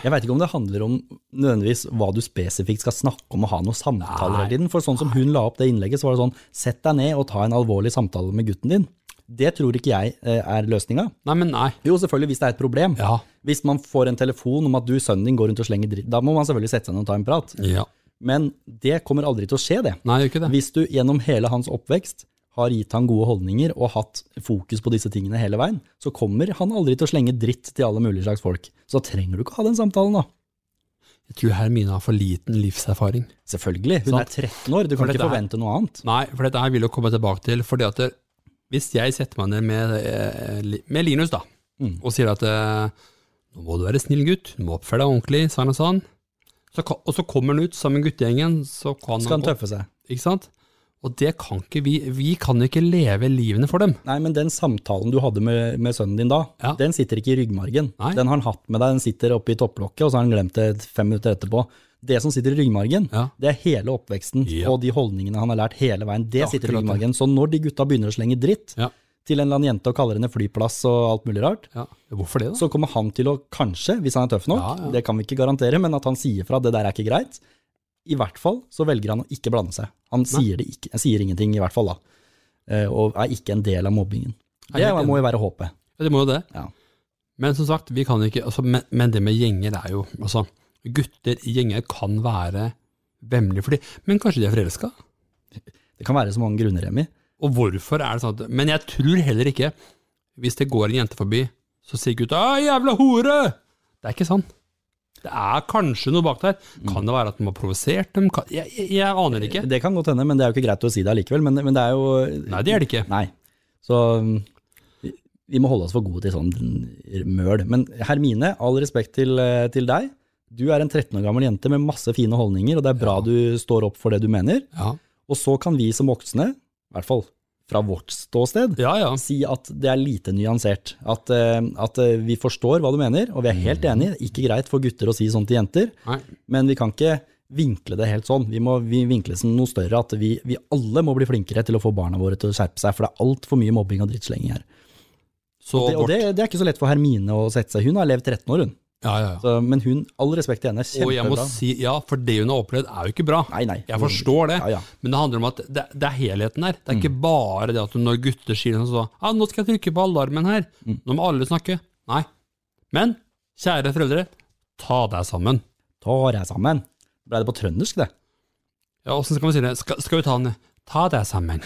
Speaker 2: Jeg veit ikke om det handler om nødvendigvis hva du spesifikt skal snakke om og ha noen samtaler hele tiden. For sånn som hun la opp det innlegget, så var det sånn sett deg ned og ta en alvorlig samtale med gutten din. Det tror ikke jeg eh, er løsninga.
Speaker 1: Nei, men nei.
Speaker 2: Jo, selvfølgelig hvis det er et problem.
Speaker 1: Ja.
Speaker 2: Hvis man får en telefon om at du, sønnen din, går rundt og slenger dritt, da må man selvfølgelig sette seg ned og ta en prat.
Speaker 1: ja.
Speaker 2: Men det kommer aldri til å skje, det.
Speaker 1: Nei, gjør ikke det.
Speaker 2: Hvis du gjennom hele hans oppvekst har gitt han gode holdninger og hatt fokus på disse tingene hele veien, så kommer han aldri til å slenge dritt til alle mulige slags folk. Så da trenger du ikke ha den samtalen, da.
Speaker 1: Jeg tror Hermine har for liten livserfaring.
Speaker 2: Selvfølgelig. Hun
Speaker 1: Sant.
Speaker 2: er 13 år, du
Speaker 1: For
Speaker 2: kan ikke
Speaker 1: dette her-
Speaker 2: forvente noe annet.
Speaker 1: Nei, for dette her vil jeg komme tilbake til. fordi at det- Hvis jeg setter meg ned med, eh, Li- med Linus da,
Speaker 2: Mm.
Speaker 1: og sier at eh, nå må du være snill gutt, du må oppføre deg ordentlig, sånn og sånn, så, ka- og så kommer han ut sammen med guttegjengen, så kan
Speaker 2: Så skal han
Speaker 1: han
Speaker 2: tøffe seg.
Speaker 1: Ikke sant? Og det kan ikke vi. Vi kan ikke leve livene for dem.
Speaker 2: Nei, men den samtalen du hadde med, med sønnen din da,
Speaker 1: Ja.
Speaker 2: den sitter ikke i ryggmargen.
Speaker 1: Nei.
Speaker 2: Den har han hatt med deg, den sitter oppe i topplokket, og så har han glemt det fem minutter etterpå. Det som sitter i ryggmargen,
Speaker 1: Ja.
Speaker 2: det er hele oppveksten
Speaker 1: Ja.
Speaker 2: og de holdningene han har lært hele veien. Det
Speaker 1: Ja,
Speaker 2: sitter i
Speaker 1: akkurat det.
Speaker 2: ryggmargen. Så når de gutta begynner å slenge dritt
Speaker 1: Ja.
Speaker 2: til en eller annen jente og kaller henne flyplass og alt mulig rart,
Speaker 1: Ja. Hvorfor det, da?
Speaker 2: så kommer han til å kanskje, hvis han er tøff nok,
Speaker 1: Ja, ja.
Speaker 2: det kan vi ikke garantere, men at han sier fra, det der er ikke greit. I hvert fall så velger han å ikke blande seg. Han sier, det ikke, han sier ingenting i hvert fall da, eh, og er ikke en del av mobbingen.
Speaker 1: Jeg
Speaker 2: Det
Speaker 1: er helt
Speaker 2: må jo være håpet.
Speaker 1: Ja, det må jo det.
Speaker 2: Ja.
Speaker 1: Men som sagt, vi kan ikke altså, men, men det med gjenger er jo altså, Gutter i gjenger kan være vemmelige for de, men kanskje de er forelska?
Speaker 2: Det kan være så mange grunner, Remi.
Speaker 1: Og hvorfor er det sånn at Men jeg tror heller ikke hvis det går en jente forbi, så sier gutta 'Å, jævla hore'. Det er ikke sånn. Det er kanskje noe bak der.
Speaker 2: Mm.
Speaker 1: Kan det være at de har provosert dem? Kan, jeg, jeg, jeg aner ikke.
Speaker 2: Det kan godt hende, men det er jo ikke greit å si det allikevel. Men, men det er jo
Speaker 1: Nei, det er det ikke.
Speaker 2: Nei. Så mm, vi- vi må holde oss for gode til sånn møl. Men Hermine, all respekt til, eh, til deg. Du er en 13 år gammel jente med masse fine holdninger, og det er bra du står opp for det du mener.
Speaker 1: Ja,
Speaker 2: Og så kan vi som voksne, i hvert fall fra vårt ståsted,
Speaker 1: ja. ja.
Speaker 2: si at det er lite nyansert. At, eh, at eh, vi forstår hva du mener, og vi er helt enige. Ikke greit for gutter å si sånn til jenter,
Speaker 1: Nei.
Speaker 2: men vi kan ikke vinkle det helt sånn. Vi må vi vinkle det som noe større, at vi, vi alle må bli flinkere til å få barna våre til å skjerpe seg, for det er altfor mye mobbing og drittslenging her.
Speaker 1: Så
Speaker 2: Det, og
Speaker 1: vårt
Speaker 2: det, det er ikke så lett for Hermine å sette seg. Hun har levd 13 år, hun.
Speaker 1: Ja, ja, ja.
Speaker 2: Så, men hun, all respekt til henne,
Speaker 1: Og jeg må
Speaker 2: kjempebra.
Speaker 1: si ja, for det hun har opplevd, er jo ikke bra.
Speaker 2: Nei, nei.
Speaker 1: Jeg forstår det,
Speaker 2: Ja, ja.
Speaker 1: men det handler om at det, det er helheten her. Det er ikke bare det at når gutter sier sånn sånn ah, 'Nå skal jeg trykke på alarmen her. Nå må alle snakke.' Nei. Men kjære foreldre, ta deg sammen.
Speaker 2: Ta deg sammen. Ble det på trøndersk, det?
Speaker 1: Ja, Åssen skal vi si det? Skal, skal vi ta den? Ta deg sammen.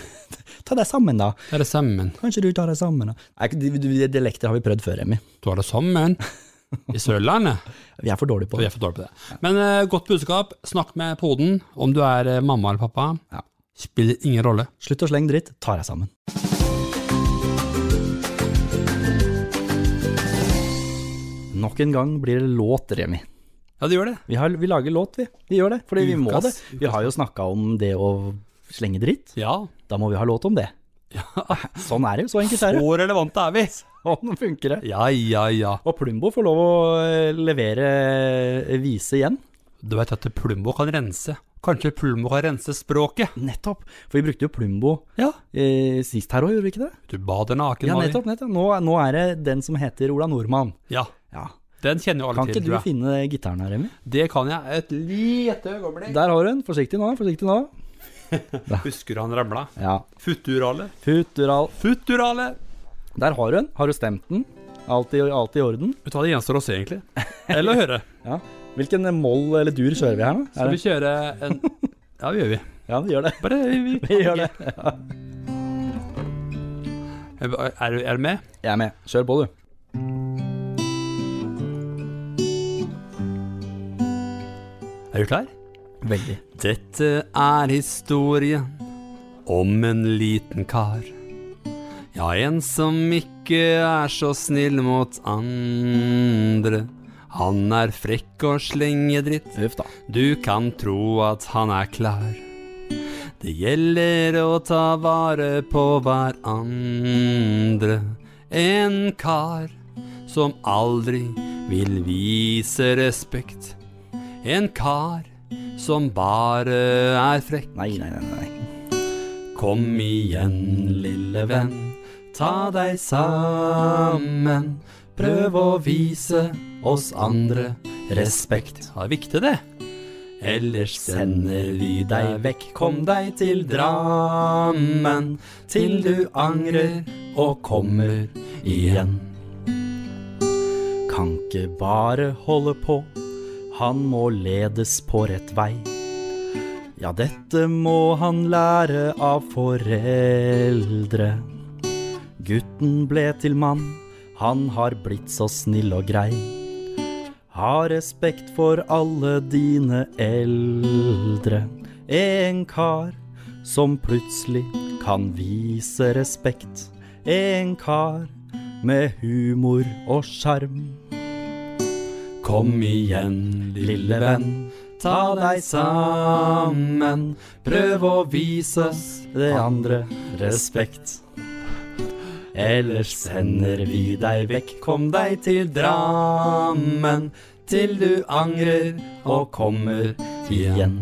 Speaker 2: Ta deg sammen, da.
Speaker 1: Ta deg sammen.
Speaker 2: Kanskje du tar deg sammen, da. Nei, ikke- du- du- Dialekter har vi prøvd før, Emmy.
Speaker 1: Ta deg sammen. I Sørlandet.
Speaker 2: Vi er for dårlige på
Speaker 1: Vi
Speaker 2: det.
Speaker 1: er for dårlige på det. Men eh, godt budskap. Snakk med poden om du er eh, mamma eller pappa.
Speaker 2: Ja.
Speaker 1: Spiller ingen rolle.
Speaker 2: Slutt å slenge dritt, ta deg sammen. Nok en gang blir det låt, Remi.
Speaker 1: Ja, det gjør det.
Speaker 2: Vi, har, vi lager låt, vi. Vi gjør det, fordi vi må
Speaker 1: Ukas-
Speaker 2: det. Vi har jo snakka om det å slenge dritt.
Speaker 1: Ja.
Speaker 2: Da må vi ha låt om det. [LAUGHS] Sånn er det. Så enkelt er det.
Speaker 1: Hvor relevante er vi?
Speaker 2: [LAUGHS] Sånn funker det.
Speaker 1: Ja, ja, ja.
Speaker 2: Og Plumbo får lov å eh, levere eh, vise igjen.
Speaker 1: Du vet at Plumbo kan rense. Kanskje Plumbo kan rense språket?
Speaker 2: Nettopp. For vi brukte jo Plumbo
Speaker 1: Ja.
Speaker 2: eh, sist her òg, gjorde vi ikke det?
Speaker 1: Du bader naken,
Speaker 2: Ja,
Speaker 1: Mari.
Speaker 2: nettopp. nettopp. Nå, nå er det den som heter Ola Nordmann.
Speaker 1: Ja,
Speaker 2: Ja.
Speaker 1: den kjenner jo alle
Speaker 2: Kan ikke
Speaker 1: til.
Speaker 2: du
Speaker 1: tror jeg.
Speaker 2: finne gitaren her, Remi?
Speaker 1: Det kan jeg. Et lite øyeblikk.
Speaker 2: Eh, Der har du den. Forsiktig nå, forsiktig nå.
Speaker 1: Husker du han ramla?
Speaker 2: Ja.
Speaker 1: Futurale.
Speaker 2: Futural.
Speaker 1: Futurale!
Speaker 2: Der har du den. Har du stemt den? Alt i, alt i orden?
Speaker 1: Vet du hva det gjenstår å se, egentlig? Eller å
Speaker 2: [LAUGHS]
Speaker 1: høre.
Speaker 2: Ja. Hvilken eh, moll eller dur kjører vi her nå?
Speaker 1: Skal
Speaker 2: Er
Speaker 1: vi
Speaker 2: det?
Speaker 1: kjøre en Ja, det gjør vi.
Speaker 2: Ja, vi gjør det. [LAUGHS]
Speaker 1: Bare vi,
Speaker 2: Vi gjør det.
Speaker 1: Er, er du med?
Speaker 2: Jeg er med. Kjør på, du.
Speaker 1: Er du klar?
Speaker 2: Veldig.
Speaker 1: Dette er historien om en liten kar. Ja, en som ikke er så snill mot andre. Han er frekk og slenger dritt,
Speaker 2: Uff da.
Speaker 1: du kan tro at han er klar. Det gjelder å ta vare på hverandre. En kar som aldri vil vise respekt. En kar som bare er frekk.
Speaker 2: Nei, nei, nei. nei.
Speaker 1: Kom igjen, lille venn, ta deg sammen. Prøv å vise oss andre respekt. Ja, det er viktig, det. Ellers sender vi deg vekk. Kom deg til Drammen, til du angrer og kommer igjen.
Speaker 2: Kan ikke bare holde på, han må ledes på rett vei. Ja, dette må han lære av foreldre. Gutten ble til mann, han har blitt så snill og grei. Ha respekt for alle dine eldre. En kar som plutselig kan vise respekt. En kar med humor og sjarm.
Speaker 1: Kom igjen, lille venn, ta deg sammen. Prøv å vise oss
Speaker 2: det andre respekt. Ellers sender vi deg vekk, kom deg til Drammen, til du angrer og kommer igjen.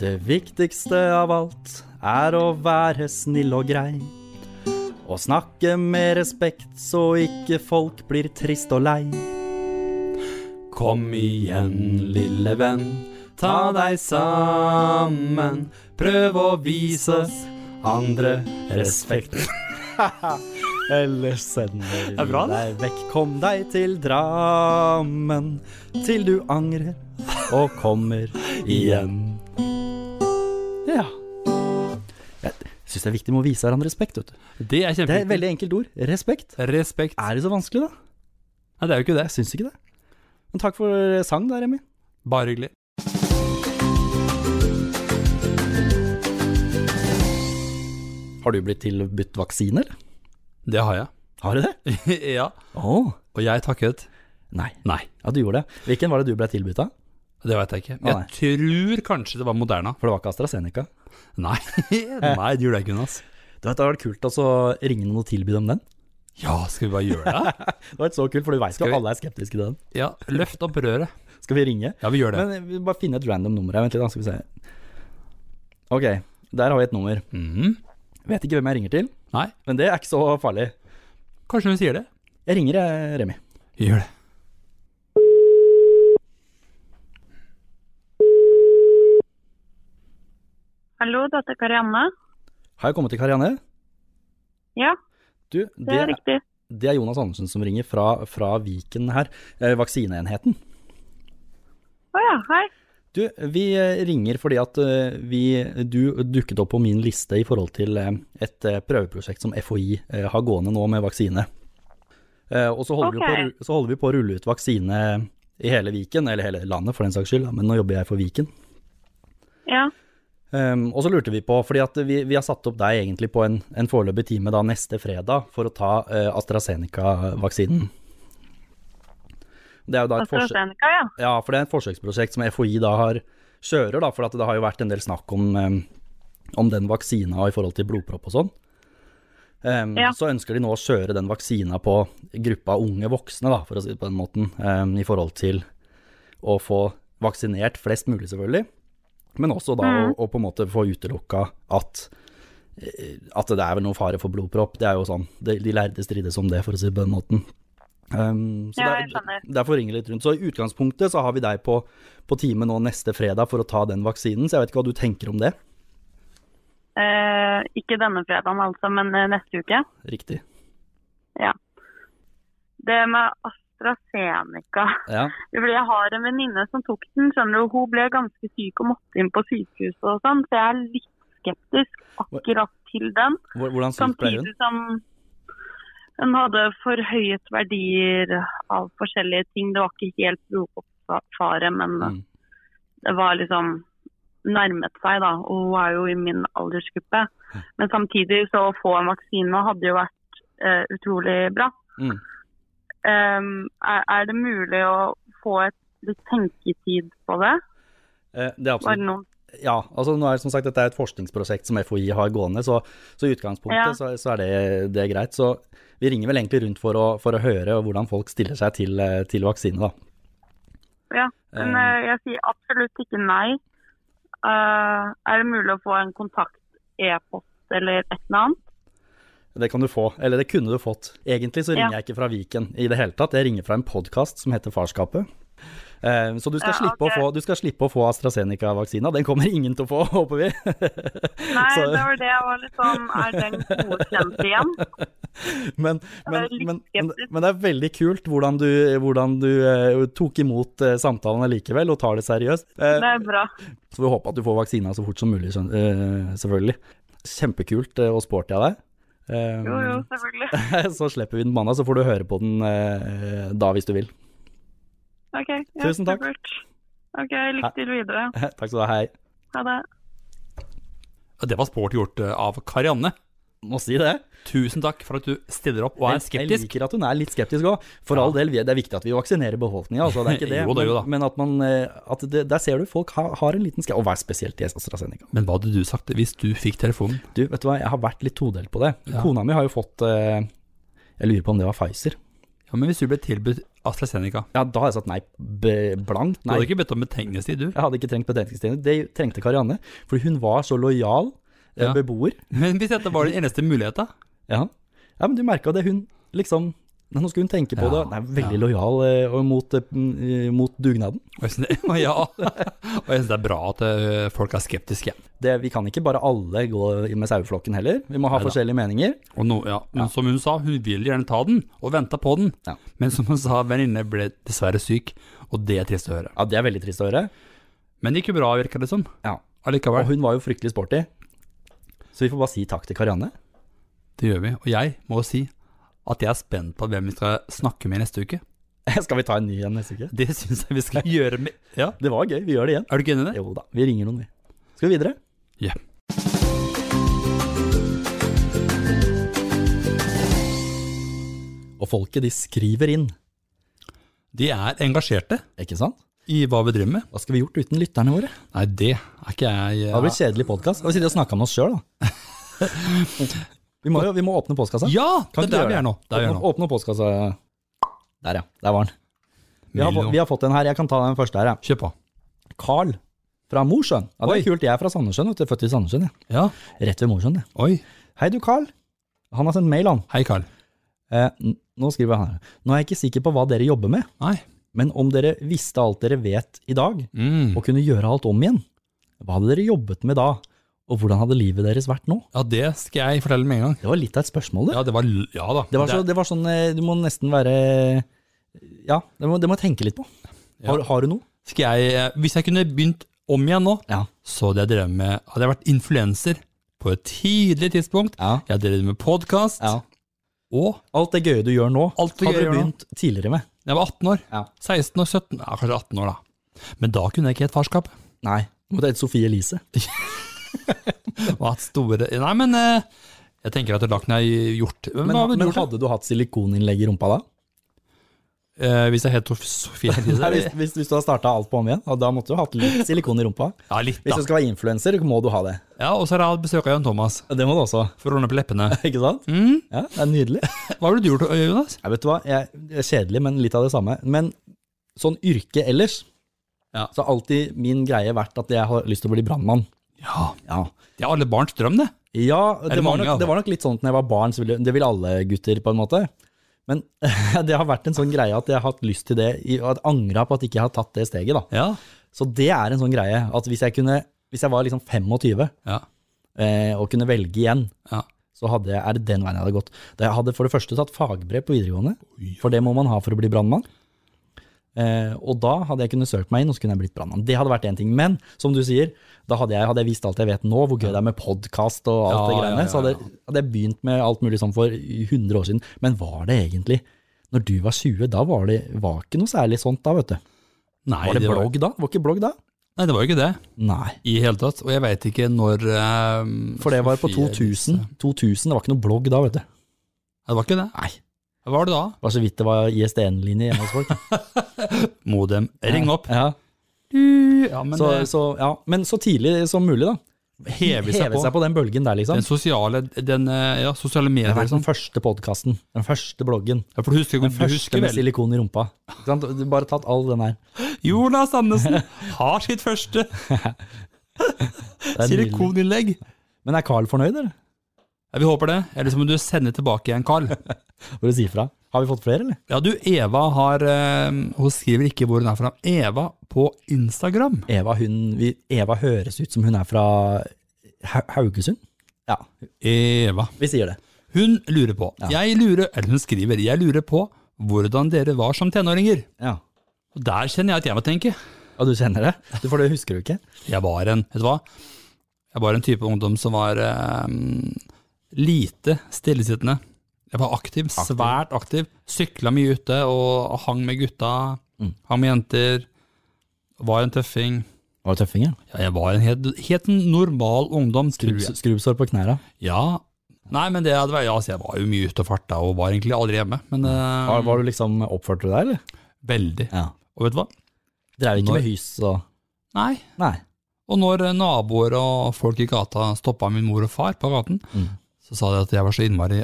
Speaker 2: Det viktigste av alt er å være snill og grei. Og snakke med respekt, så ikke folk blir trist og lei.
Speaker 1: Kom igjen, lille venn, ta deg sammen. Prøv å vise oss andre respekt.
Speaker 2: [LAUGHS] Ellers sender
Speaker 1: er bra,
Speaker 2: vi deg vekk. Kom deg til Drammen, til du angrer og kommer igjen. Ja. Jeg Syns det er viktig med å vise hverandre respekt, vet du.
Speaker 1: Det er
Speaker 2: Det er et
Speaker 1: kjempeviktig.
Speaker 2: veldig enkelt ord. Respekt.
Speaker 1: Respekt.
Speaker 2: Er det så vanskelig, da?
Speaker 1: Nei, det er jo ikke det.
Speaker 2: Jeg syns ikke det. Men takk for sang da, Remi.
Speaker 1: Bare hyggelig.
Speaker 2: Har du blitt tilbudt vaksine, eller?
Speaker 1: Det har jeg.
Speaker 2: Har du det?
Speaker 1: [LAUGHS] ja.
Speaker 2: Å,
Speaker 1: Og jeg takket
Speaker 2: nei.
Speaker 1: nei.
Speaker 2: Ja, du gjorde det. Hvilken var det du ble tilbudt av?
Speaker 1: Det veit jeg ikke.
Speaker 2: Å,
Speaker 1: Jeg tror kanskje det var Moderna.
Speaker 2: For det var ikke AstraZeneca.
Speaker 1: Nei, [LAUGHS] nei det gjorde jeg ikke, Jonas.
Speaker 2: Du vet, Det hadde vært kult å så ringe noen og tilby dem den.
Speaker 1: Ja, skal vi bare gjøre det?
Speaker 2: [LAUGHS] Det hadde vært så kult, for du veit
Speaker 1: Skal
Speaker 2: jo
Speaker 1: vi-
Speaker 2: alle er skeptiske til den.
Speaker 1: Ja, løft opp røret.
Speaker 2: Skal vi ringe?
Speaker 1: Ja, vi gjør det.
Speaker 2: Men vi må bare finne et random nummer her. Vent litt, da skal vi se. Ok, der har vi et nummer.
Speaker 1: Mhm.
Speaker 2: Vet ikke hvem jeg ringer til,
Speaker 1: Nei,
Speaker 2: men det er ikke så farlig.
Speaker 1: kanskje hun sier det.
Speaker 2: Jeg ringer eh, Remi.
Speaker 1: Vi gjør det.
Speaker 3: Hallo, dette er Karianne.
Speaker 2: Har jeg kommet til Karianne?
Speaker 3: Ja,
Speaker 2: Du,
Speaker 3: det er
Speaker 2: det,
Speaker 3: riktig.
Speaker 2: det er Jonas Andersen som ringer fra, fra Viken her, eh, vaksineenheten.
Speaker 3: Å ja, hei.
Speaker 2: Du, vi eh, ringer fordi at eh, vi, du dukket opp på min liste i forhold til eh, et eh, prøveprosjekt som FHI eh, har gående nå med vaksine. Eh, Og så holder, vi på, å
Speaker 3: Ok.
Speaker 2: ru- så holder vi på å rulle ut vaksine i hele Viken, eller hele landet for den saks skyld, da, men nå jobber jeg for Viken.
Speaker 3: Ja,
Speaker 2: Ehm, og så lurte vi på, fordi at vi, vi har satt opp deg egentlig på en, en foreløpig time da neste fredag for å ta eh, AstraZeneca-vaksinen. Det er jo da et forsøk...
Speaker 3: AstraZeneca, ja.
Speaker 2: Ja, for det er et forsøksprosjekt som FHI da har kjører, da, for at det har jo vært en del snakk om, eh, om den vaksina og i forhold til blodpropp og sånn. Ehm,
Speaker 3: Ja.
Speaker 2: Så ønsker de nå å kjøre den vaksina på gruppa unge voksne, da, for å si det på den måten, ehm, i forhold til å få vaksinert flest mulig, selvfølgelig. Men også da
Speaker 3: Mm.
Speaker 2: å, å på en måte få utelukka at, eh, at det er vel noen fare for blodpropp. Det er jo sånn, de, de lærde strides om det, for å si det på den måten. Ehm, så
Speaker 3: Ja,
Speaker 2: der-
Speaker 3: jeg skjønner.
Speaker 2: derfor ringer litt rundt. Så i utgangspunktet så har vi deg på, på time nå neste fredag for å ta den vaksinen, så jeg vet ikke hva du tenker om det.
Speaker 3: Eh, ikke denne fredagen altså, men eh, neste uke.
Speaker 2: Riktig.
Speaker 3: Det med AstraZeneca.
Speaker 2: Ja,
Speaker 3: [LAUGHS] Fordi jeg har en venninne som tok den, skjønner du. Hun ble ganske syk og måtte inn på sykehuset og sånn, så jeg er litt skeptisk akkurat til den.
Speaker 2: Hvor- Hvordan syk ble hun?
Speaker 3: Samtidig som hun hadde forhøyet verdier av forskjellige ting. Det var ikke helt blodfare, men
Speaker 2: Mm.
Speaker 3: det var liksom nærmet seg, da. Og hun er jo i min aldersgruppe. Men samtidig så å få en vaksine hadde jo vært eh, utrolig bra.
Speaker 2: Mm.
Speaker 3: Ehm, er, er det mulig å få et litt tenketid på det?
Speaker 2: Eh, Det er
Speaker 3: Var det
Speaker 2: absolutt
Speaker 3: noen
Speaker 2: Ja, altså nå er det som sagt dette er et forskningsprosjekt som FHI har gående, så, så i utgangspunktet
Speaker 3: Ja.
Speaker 2: så, så er det, det er greit. Så vi ringer vel egentlig rundt for å, for å høre hvordan folk stiller seg til, eh, til vaksine, da.
Speaker 3: Ja, men
Speaker 2: Eh,
Speaker 3: eh, jeg sier absolutt ikke nei. Eh, er det mulig å få en kontakt, e-post eller et eller annet?
Speaker 2: Det kan du få, eller det kunne du fått. Egentlig så ringer
Speaker 3: Ja.
Speaker 2: jeg ikke fra Viken i det hele tatt, jeg ringer fra en podkast som heter Farskapet. Eh, Så du skal,
Speaker 3: Ja,
Speaker 2: slippe
Speaker 3: ok.
Speaker 2: å få, du skal slippe å få AstraZeneca-vaksina, den kommer ingen til å få, [LAUGHS] håper vi.
Speaker 3: Nei,
Speaker 2: Så-
Speaker 3: det var det jeg var litt sånn Er den godkjent igjen?
Speaker 2: Men, men,
Speaker 3: Jeg er
Speaker 2: men,
Speaker 3: litt
Speaker 2: men,
Speaker 3: skeptisk.
Speaker 2: men det er veldig kult hvordan du, hvordan du eh, tok imot eh, samtalen allikevel, og tar det seriøst. Eh,
Speaker 3: Det er bra.
Speaker 2: Så vi håper at du får vaksina så fort som mulig, skjøn- eh, selvfølgelig. Kjempekult eh, og sporty av deg. Eh,
Speaker 3: Jo, jo, selvfølgelig.
Speaker 2: [LAUGHS] Så slipper vi den mandag, så får du høre på den eh, da hvis du vil. [LAUGHS]
Speaker 3: Ok, ja,
Speaker 2: Tusen takk.
Speaker 3: supert. Ok, lykke til videre.
Speaker 2: Takk skal du ha, hei.
Speaker 3: Ha det.
Speaker 1: Ja, Det var sport gjort eh, av Karianne.
Speaker 2: Må si det.
Speaker 1: Tusen takk for at du stiller opp og er
Speaker 2: Jeg
Speaker 1: skeptisk.
Speaker 2: liker at hun er litt skeptisk òg. For
Speaker 1: Ja.
Speaker 2: all del, vi- det er viktig at vi vaksinerer befolkninga, altså. Det er
Speaker 1: [LAUGHS]
Speaker 2: ikke det.
Speaker 1: Jo da, jo da.
Speaker 2: Men, men at man eh, at det, Der ser du folk har, har en liten skepsis. Og hva er spesielt i AstraZeneca?
Speaker 1: Men hva hadde du sagt hvis du fikk telefonen?
Speaker 2: Du, vet du hva, jeg har vært litt todelt på det.
Speaker 1: Ja.
Speaker 2: Kona mi har jo fått eh, Jeg lurer på om det var Pfizer.
Speaker 1: Ja, men Hvis du ble tilbudt AstraZeneca
Speaker 2: Ja, da har jeg sagt nei. b- Blankt
Speaker 1: Du
Speaker 2: nei.
Speaker 1: hadde ikke bedt om betenkningstid, du.
Speaker 2: Jeg hadde ikke trengt betenkningstjeneste. Det trengte Karianne, for hun var så lojal eh,
Speaker 1: Ja.
Speaker 2: beboer.
Speaker 1: Men hvis dette var den eneste muligheten, da?
Speaker 2: Ja. ja, men du merka det. Hun liksom Nå skulle hun tenke på det.
Speaker 1: Ja,
Speaker 2: Hun er veldig lojal eh, og mot, eh, mm, mot dugnaden.
Speaker 1: Og jeg synes, det- [LAUGHS] ja. Og jeg syns det er bra at eh, folk er skeptiske.
Speaker 2: Det, vi kan ikke bare alle gå med saueflokken heller. Vi må ha
Speaker 1: Neida.
Speaker 2: forskjellige meninger.
Speaker 1: Og nå, ja, men som hun sa, hun vil gjerne ta den, og venta på den.
Speaker 2: Ja.
Speaker 1: Men som hun sa, venninne ble dessverre syk, og det er trist å høre.
Speaker 2: Ja, Det er veldig trist å høre.
Speaker 1: Men det gikk jo bra, virka det som.
Speaker 2: Ja. Og
Speaker 1: Allikevel.
Speaker 2: hun var jo fryktelig sporty. Så vi får bare si takk til Karianne. [LAUGHS]
Speaker 1: Det gjør vi. Og jeg må si at jeg er spent på hvem vi skal snakke med neste uke.
Speaker 2: Skal vi ta en ny igjen neste uke?
Speaker 1: Det syns jeg vi [LAUGHS] skal gjøre med Ja,
Speaker 2: Det var gøy, vi gjør det igjen.
Speaker 1: er du ikke enig i det?
Speaker 2: Jo da, vi ringer noen, vi. Skal vi videre?
Speaker 1: Ja.
Speaker 2: Og folket, de skriver inn,
Speaker 1: De er engasjerte
Speaker 2: ikke sant?
Speaker 1: i hva vi driver med.
Speaker 2: Hva skulle vi gjort uten lytterne våre?
Speaker 1: Nei, det er ikke jeg
Speaker 2: Det har blitt kjedelig podkast. Vi sitter og snakker om oss sjøl, da. [LAUGHS] Vi må, jo- vi må åpne postkassa.
Speaker 1: Ja, det
Speaker 2: Kan
Speaker 1: er
Speaker 2: ikke
Speaker 1: der
Speaker 2: gjøre
Speaker 1: vi er nå. Der vi er
Speaker 2: Åpne,
Speaker 1: nå.
Speaker 2: åpne postkassa. Der, ja. Der var den. Vi har, fått-
Speaker 1: Mellom-
Speaker 2: vi har fått en her. Jeg kan ta den første her. jeg.
Speaker 1: Kjør på.
Speaker 2: Carl fra Mosjøen. Ja, det
Speaker 1: Oi.
Speaker 2: er kult. Jeg er fra Sandnessjøen. vet du. Født i Sandnessjøen, jeg.
Speaker 1: Ja.
Speaker 2: Rett ved Mosjøen, jeg.
Speaker 1: Oi.
Speaker 2: Hei du, Carl. Han har sendt mail, han.
Speaker 1: Hei, Carl.
Speaker 2: Eh, n- nå skriver han her. Nå er jeg ikke sikker på hva dere jobber med,
Speaker 1: Nei.
Speaker 2: men om dere visste alt dere vet i dag,
Speaker 1: Mm.
Speaker 2: og kunne gjøre alt om igjen, hva hadde dere jobbet med da, og hvordan hadde livet deres vært nå?
Speaker 1: Ja, det skal jeg fortelle med en gang.
Speaker 2: Det var litt av et spørsmål, det.
Speaker 1: Ja, det var l- Ja da.
Speaker 2: Det var, så, det var sånn eh, Du må nesten være Ja, det må, det må jeg tenke litt på.
Speaker 1: Ja.
Speaker 2: Har, har du noe?
Speaker 1: Skal jeg eh, Hvis jeg kunne begynt om igjen nå,
Speaker 2: Ja.
Speaker 1: så hadde jeg drevet med Hadde jeg vært influenser på et tidlig tidspunkt,
Speaker 2: Ja.
Speaker 1: jeg hadde drevet med podkast, og
Speaker 2: Alt det gøye du gjør nå,
Speaker 1: Alt det gøye jeg
Speaker 2: hadde
Speaker 1: gjør
Speaker 2: du
Speaker 1: nå.
Speaker 2: begynt tidligere med.
Speaker 1: jeg var 18 år.
Speaker 2: Ja.
Speaker 1: 16 år, 17 Ja, kanskje 18 år, da. Men da kunne jeg ikke hett farskap.
Speaker 2: Nei. Måtte hete Sofie Elise.
Speaker 1: Og hatt store Nei, men eh, jeg tenker at det lakken jeg gjort Men,
Speaker 2: Men,
Speaker 1: hva hadde du
Speaker 2: men
Speaker 1: gjort? da?
Speaker 2: hadde du hatt silikoninnlegg i rumpa da?
Speaker 1: Eh, hvis jeg het Sofie Elise?
Speaker 2: [LAUGHS] Nei, hvis, hvis, hvis du hadde starta alt på om igjen, og da måtte du hatt litt silikon i rumpa.
Speaker 1: Ja, litt,
Speaker 2: Hvis
Speaker 1: da.
Speaker 2: du skal være influenser, må du ha det.
Speaker 1: Ja, Og så har jeg hatt besøk av Jan Thomas
Speaker 2: Det må du også. [LAUGHS]
Speaker 1: for å ordne på leppene.
Speaker 2: Ikke sant?
Speaker 1: Mm.
Speaker 2: Ja, det er nydelig.
Speaker 1: Hva ville du gjort, Jonas?
Speaker 2: Jeg vet du hva, jeg, det er kjedelig, men litt av det samme. Men sånn yrke ellers,
Speaker 1: Ja.
Speaker 2: så har alltid min greie vært at jeg har lyst til å bli brannmann.
Speaker 1: Ja,
Speaker 2: Ja.
Speaker 1: Det er alle barns drøm, det.
Speaker 2: Ja, det,
Speaker 1: det
Speaker 2: var
Speaker 1: mange
Speaker 2: nok,
Speaker 1: av?
Speaker 2: det var nok litt sånn at når jeg var barn, så ville, det ville alle gutter på en måte. Men [LAUGHS] det har vært en sånn greie at jeg har hatt lyst til det, i- og at angra på at jeg ikke har tatt det steget. da.
Speaker 1: Ja.
Speaker 2: Så det er en sånn greie at hvis jeg, kunne, hvis jeg var liksom 25
Speaker 1: ja.
Speaker 2: eh, og kunne velge igjen,
Speaker 1: Ja.
Speaker 2: så hadde, jeg- er det den veien jeg hadde gått. Da jeg hadde for det første tatt fagbrev på videregående, for det må man ha for å bli brannmann. Eh, og da hadde jeg kunnet søkt meg inn, og så kunne jeg blitt brannmann. Det hadde vært én ting. Men som du sier, da hadde jeg, hadde jeg visst alt jeg vet nå, hvor gøy det er med podkast og alt
Speaker 1: Ja,
Speaker 2: det
Speaker 1: ja,
Speaker 2: greiene,
Speaker 1: ja,
Speaker 2: så hadde, jeg- hadde jeg begynt med alt mulig sånn for 100 år siden. Men var det egentlig? Når du var 20, da var det var ikke noe særlig sånt da, vet du.
Speaker 1: Nei,
Speaker 2: Var det
Speaker 1: var-
Speaker 2: blogg da? Det var ikke blogg da?
Speaker 1: Nei, det var jo ikke det.
Speaker 2: Nei.
Speaker 1: I hele tatt. Og jeg veit ikke når eh,
Speaker 2: For det var på
Speaker 1: Sofie
Speaker 2: 2000.
Speaker 1: Elise-
Speaker 2: 2000, det var ikke noe blogg da, vet du.
Speaker 1: Nei, Det var ikke det.
Speaker 2: Nei.
Speaker 1: Hva var det da?
Speaker 2: Det var så vidt det var ISDN-linje hjemme hos folk.
Speaker 1: Modem. [LAUGHS] Ring opp.
Speaker 2: Ja.
Speaker 1: Ja, men eh,
Speaker 2: så,
Speaker 1: det-
Speaker 2: så, ja. Men så tidlig som mulig, da.
Speaker 1: heve seg på.
Speaker 2: den bølgen der, liksom.
Speaker 1: Den sosiale, den, eh, ja, sosiale
Speaker 2: Det
Speaker 1: medier
Speaker 2: var
Speaker 1: og
Speaker 2: den
Speaker 1: sånn.
Speaker 2: første podkasten, den første bloggen,
Speaker 1: Ja, for du husker,
Speaker 2: den
Speaker 1: du
Speaker 2: første
Speaker 1: husker
Speaker 2: med
Speaker 1: vel
Speaker 2: silikon i rumpa. Ikke sant? Du bare tatt all den her.
Speaker 1: Jonas
Speaker 2: [LAUGHS]
Speaker 1: Andersen har sitt første
Speaker 2: Det er nydelig.
Speaker 1: silikoninnlegg.
Speaker 2: Men er Carl fornøyd, eller?
Speaker 1: Ja, vi håper det. Eller så må du sende tilbake igjen, Carl.
Speaker 2: Hvor du sier fra. Har vi fått flere, eller?
Speaker 1: Ja, du, Eva har eh, Hun skriver ikke hvor hun er fra. Eva på Instagram.
Speaker 2: Eva, hun, vi, Eva høres ut som hun er fra Ha- Haugesund. Ja,
Speaker 1: Eva.
Speaker 2: vi sier det.
Speaker 1: Hun lurer på Jeg lurer, eller hun skriver, jeg lurer på hvordan dere var som tenåringer.
Speaker 2: Ja.
Speaker 1: Og der kjenner jeg at jeg må tenke.
Speaker 2: Og du kjenner det? Du, for det husker du ikke?
Speaker 1: Jeg var en, vet du hva? Jeg var en type ungdom som var eh, lite stillesittende. Jeg var aktiv, svært aktiv. Sykla mye ute og hang med gutta, hang med jenter. Var en tøffing.
Speaker 2: Var det tøffing, ja?
Speaker 1: Ja, jeg var en helt, helt normal ungdom, tror jeg.
Speaker 2: Skrubbs- Skrubbsår på knæra.
Speaker 1: Ja. Nei, men det hadde vært, ja, altså, jeg var jo mye ute og farta og var egentlig aldri hjemme, men eh,
Speaker 2: Var, var du liksom Oppførte du deg, eller?
Speaker 1: veldig.
Speaker 2: Ja.
Speaker 1: Og vet du hva?
Speaker 2: Drev ikke
Speaker 1: Når-
Speaker 2: med hys og
Speaker 1: Nei.
Speaker 2: Nei.
Speaker 1: Og når eh, naboer og folk i gata stoppa min mor og far på gaten,
Speaker 2: Mm.
Speaker 1: så sa de at jeg var så innmari